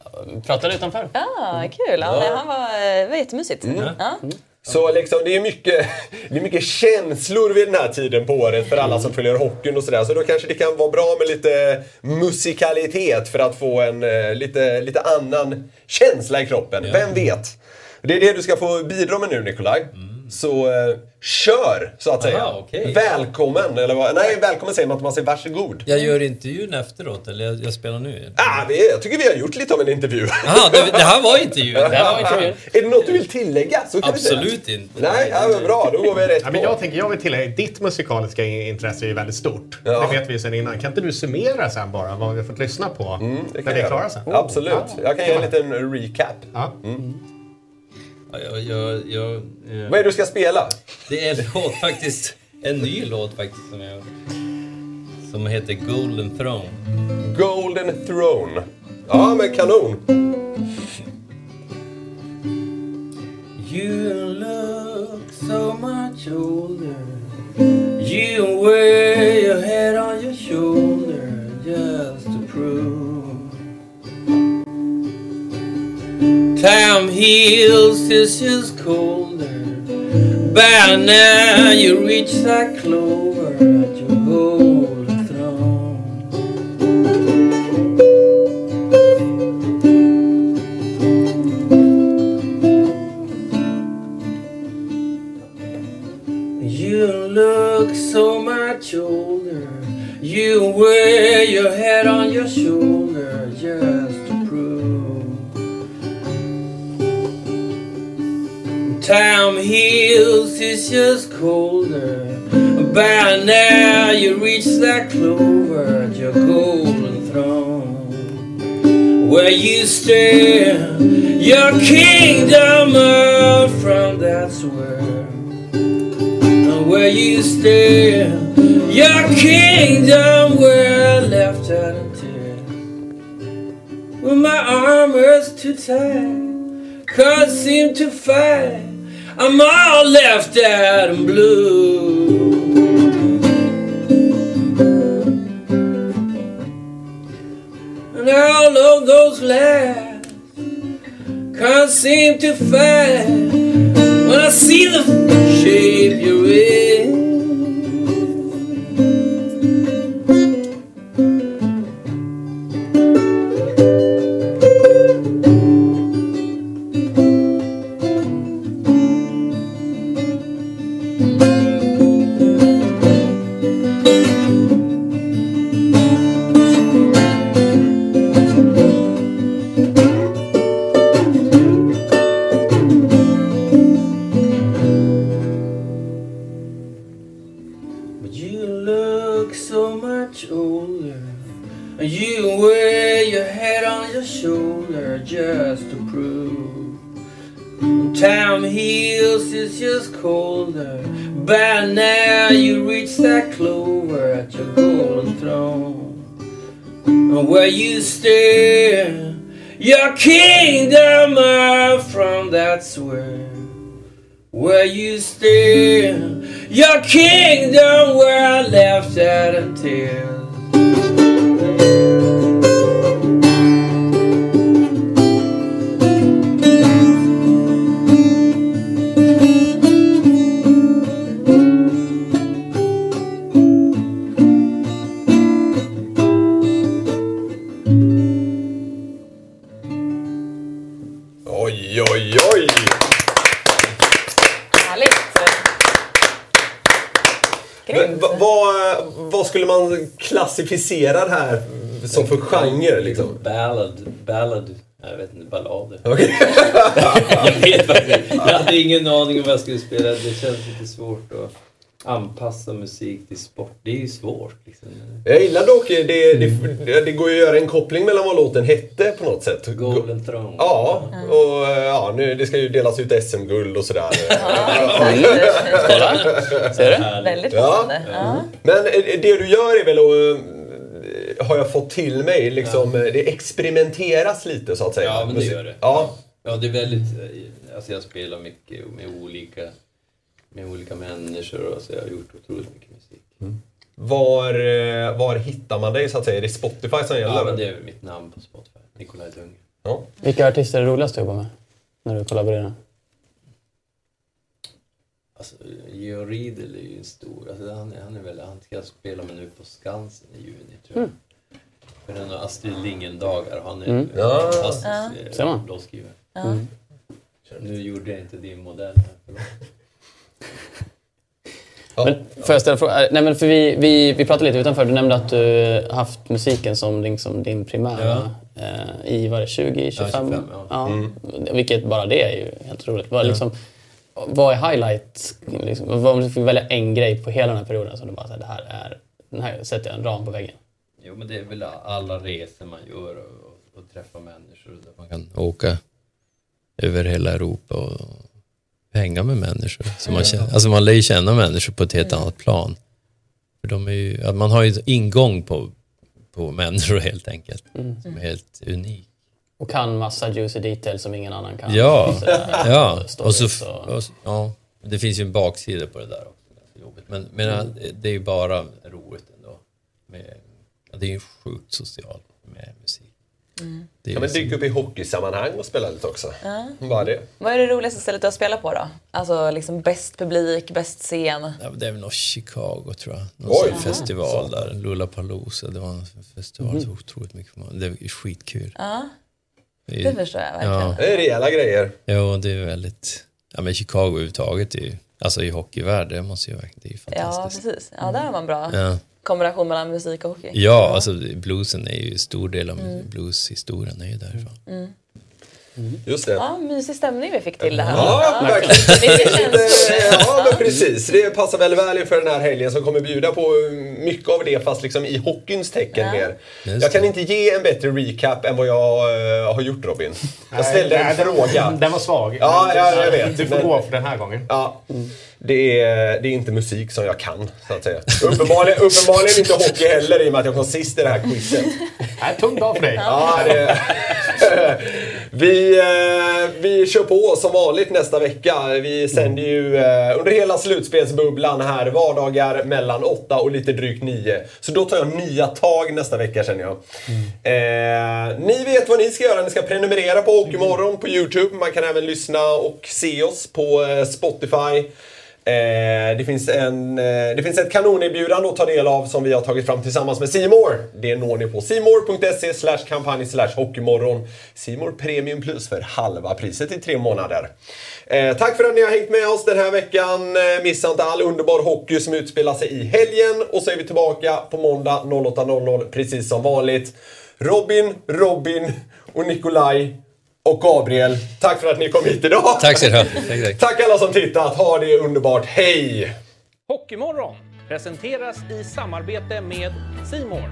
[SPEAKER 7] Pratar du utanför?
[SPEAKER 3] Ja, kul. Ja, nej, han var, eh, var jättemysigt.
[SPEAKER 2] Mm.
[SPEAKER 3] Ja.
[SPEAKER 2] Så liksom, det, är mycket, det är mycket känslor vid den här tiden på året för alla som
[SPEAKER 3] Mm.
[SPEAKER 2] följer hockeyn och sådär. Så då kanske det kan vara bra med lite musikalitet för att få en eh, lite, lite annan känsla i kroppen. Vem vet? Det är det du ska få bidra med nu Nikolaj.
[SPEAKER 3] Mm.
[SPEAKER 2] Så eh, kör, så att säga.
[SPEAKER 6] okej.
[SPEAKER 2] Välkommen, eller vad? Nej, välkommen säger man inte, man säger varsågod.
[SPEAKER 6] Jag gör intervjun efteråt, eller jag, jag spelar nu?
[SPEAKER 2] Ah, vi, jag tycker vi har gjort lite av en intervju.
[SPEAKER 6] Jaha, det, det här var intervjun?
[SPEAKER 7] Det här var intervjun.
[SPEAKER 2] är det något du vill tillägga? Så kan vi säga.
[SPEAKER 6] Absolut inte.
[SPEAKER 2] Nej, ja, men bra. Då går vi rätt
[SPEAKER 4] Ja,
[SPEAKER 2] på.
[SPEAKER 4] men jag, tänker, jag vill tillägga, ditt musikaliska intresse är ju väldigt stort.
[SPEAKER 2] Ja.
[SPEAKER 4] Det vet vi ju sedan innan. Kan inte du summera sen bara vad vi har fått lyssna på
[SPEAKER 2] Mm, kan
[SPEAKER 4] när vi
[SPEAKER 2] jag
[SPEAKER 4] är
[SPEAKER 2] göra.
[SPEAKER 4] klara sen?
[SPEAKER 2] Absolut. Jag kan ge en liten recap.
[SPEAKER 4] Ja.
[SPEAKER 6] Ja, Jag, jag, jag, eh,
[SPEAKER 2] Vad är det du ska spela?
[SPEAKER 6] det är en låt faktiskt, en ny låt faktiskt som jag Som heter Golden Throne.
[SPEAKER 2] Golden Throne. Ja, men kanon.
[SPEAKER 6] You look so much older. You wear your head on your shoulder just to prove. Time heals, it's just colder. By now you reach that clover at your golden throne. You look so Time heals, it's just colder. By now you reach that clover at your golden throne. Where you stand, your kingdom out from that sword. And where you stand, your kingdom where I left out a tear. When my armor's too tight. Cause seem to fight. I'm all left out and blue. And all of those lads can't seem to fight. When I see the shape you're in. But you look so much older. And you wear your head on your shoulder just to prove. Time heals, it's just colder. By now you reach that clover at your golden throne. And where you stare, your kingdom are from that sword where you stay, your kingdom where I left out of tears.
[SPEAKER 2] Oj, oj, oj!
[SPEAKER 3] Härligt!
[SPEAKER 2] Men va- vad, vad skulle man klassificera det här som för genre liksom?
[SPEAKER 6] Ballad, ballad, jag vet inte, ballader.
[SPEAKER 2] Okej.
[SPEAKER 6] Jag vet faktiskt Jag hade ingen aning om vad jag skulle spela. Det känns lite svårt att anpassa musik till sport. Det är ju svårt liksom.
[SPEAKER 2] Jag gillar dock, eh, det, det, det går ju att göra en koppling mellan vad låten hette på något sätt.
[SPEAKER 6] Golden Throne.
[SPEAKER 2] Ja, och eh, ja, nu, det ska ju delas ut SM-guld och sådär.
[SPEAKER 3] Exakt.
[SPEAKER 7] Kolla! Ser du?
[SPEAKER 3] Väldigt
[SPEAKER 2] Ja.
[SPEAKER 3] passande. Ja.
[SPEAKER 2] Men eh, det du gör är väl att, eh, har jag fått till mig, liksom, eh, det experimenteras lite så att säga.
[SPEAKER 6] Ja, men det gör det.
[SPEAKER 2] Ja,
[SPEAKER 6] Ja, det är väldigt... eh, Alltså jag spelar mycket med olika, med olika människor och så jag har gjort otroligt mycket musik.
[SPEAKER 2] var, eh, var hittar man dig så att säga? Är det Spotify som gäller?
[SPEAKER 6] Ja, men det är väl mitt namn på Spotify. Nikolaj Dunge.
[SPEAKER 2] Ja.
[SPEAKER 7] Vilka artister är roligast att jobba med? När du kollaborerar?
[SPEAKER 6] Alltså, Georg Riedel är ju en stor... Alltså, han, är- han, är väl, han ska spela med nu på Skansen i juni, tror jag. Men han har Astrid Lindgren-dagar. Han är en
[SPEAKER 2] Ja.
[SPEAKER 6] fantastisk
[SPEAKER 7] Ser
[SPEAKER 6] ja.
[SPEAKER 7] man.
[SPEAKER 6] låtskrivare.
[SPEAKER 3] Ja.
[SPEAKER 6] Nu gjorde jag inte din modell här, förlåt.
[SPEAKER 7] Men får jag ställa en fråga? Eh, Nej, men för vi, vi, vi pratade lite utanför. Du nämnde att du haft musiken som din, som din primära eh, i vad är det, 20, 25?
[SPEAKER 6] 25, ja. Mm.
[SPEAKER 7] Vilket bara det är ju helt roligt. Vad, liksom, vad är highlight? Liksom, vad, om du fick välja en grej på hela den här perioden som du bara, så här, det här är, den här sätter jag en ram på väggen.
[SPEAKER 6] Jo, men det är väl alla resor man gör och, och, och träffa människor där man kan åka över hela Europa och hänga med människor. Så man, känner, alltså man lär ju känna människor på ett helt annat plan. För de är ju, att man har ju ingång på, på människor helt enkelt, som är helt unik.
[SPEAKER 7] Och kan massa juicy details som ingen annan kan.
[SPEAKER 6] Ja,
[SPEAKER 7] Så där.
[SPEAKER 6] ja. Och
[SPEAKER 7] stories
[SPEAKER 6] så,
[SPEAKER 7] och-
[SPEAKER 6] och, så- ja, det finns ju en baksida på det där också. ganska Jobbigt. Men, men eh, det är ju bara roligt ändå. Med, ja, det är ju sjukt socialt med musik. Det är
[SPEAKER 2] Ja,
[SPEAKER 6] ju
[SPEAKER 2] men
[SPEAKER 6] så-
[SPEAKER 2] dyk upp i hockeysammanhang och spela lite också. Bara det.
[SPEAKER 3] Vad är det roligaste stället du har spelat på då? Alltså liksom bäst publik, bäst scen.
[SPEAKER 6] Ja, men det är väl något Chicago tror jag. Någon
[SPEAKER 2] Oj.
[SPEAKER 6] sån festival där. Lollapalooza. Det var en festival
[SPEAKER 2] Mm-hmm.
[SPEAKER 6] så otroligt mycket folk. Det är skitkul. Det
[SPEAKER 3] Det
[SPEAKER 6] är,
[SPEAKER 3] förstår jag verkligen.
[SPEAKER 6] ja,
[SPEAKER 2] Det är rejäla grejer.
[SPEAKER 6] ja, det är väldigt... Ja, men Chicago överhuvudtaget är ju... Alltså i hockeyvärld, det måste ju verkligen... Det är ju
[SPEAKER 3] Ja,
[SPEAKER 6] fantastiskt.
[SPEAKER 3] precis. Ja, där har man bra
[SPEAKER 6] Ja.
[SPEAKER 3] kombination mellan musik och hockey.
[SPEAKER 8] Mm.
[SPEAKER 6] Ja, alltså bluesen är ju en stor del av blueshistorien är ju därifrån.
[SPEAKER 2] Just det.
[SPEAKER 3] Ja, mysig stämning vi fick till det här.
[SPEAKER 2] Ja, verkligen.
[SPEAKER 3] Det känns
[SPEAKER 2] Eh, Ja, men precis. Det passar väl väl inför den här helgen som kommer bjuda på mycket av det fast liksom i hockeyns tecken mer.
[SPEAKER 8] Just
[SPEAKER 2] Jag kan
[SPEAKER 8] det.
[SPEAKER 2] inte ge en bättre recap än vad jag eh, har gjort Robin. Jag ställde en
[SPEAKER 4] Nej, Mm. den-
[SPEAKER 2] fråga.
[SPEAKER 4] Den var svag.
[SPEAKER 2] Ja,
[SPEAKER 4] Men-
[SPEAKER 2] ja, jag vet.
[SPEAKER 4] Du får
[SPEAKER 2] Men-
[SPEAKER 4] gå för den här gången.
[SPEAKER 2] Ja, det är, det är inte musik som jag kan, så att säga. Uppenbarligen, uppenbarligen inte hockey heller i och med att jag kom sist i det här quizet.
[SPEAKER 4] Nej, tung dag för dig.
[SPEAKER 2] Ja, det... vi, eh, vi kör på som vanligt nästa vecka. Vi sänder ju eh, under hela slutspelsbubblan här vardagar mellan 8 och lite drygt 9. Så då tar jag nya tag nästa vecka känner jag. Eh, ni vet vad ni ska göra. Ni ska prenumerera på Hockeymorgon på Youtube. Man kan även lyssna och se oss på eh, Spotify. Eh, det, finns en, eh, det finns ett kanonerbjudande att ta del av som vi har tagit fram tillsammans med Simor. Det når ni på simor.se slash kampanj slash hockeymorgon. Simor Premium Plus för halva priset i tre månader. Eh, tack för att ni har hängt med oss den här veckan. Eh, missa inte all underbar hockey som utspelar sig i helgen. Och så är vi tillbaka på måndag 08.00 precis som vanligt. Robin, Robin och Nikolaj och Gabriel, tack för att ni kom hit idag.
[SPEAKER 8] Tack så du ha. Tack, tack.
[SPEAKER 2] Tack alla som tittat. Ha det underbart. Hej!
[SPEAKER 1] Hockeymorgon presenteras i samarbete med Simor.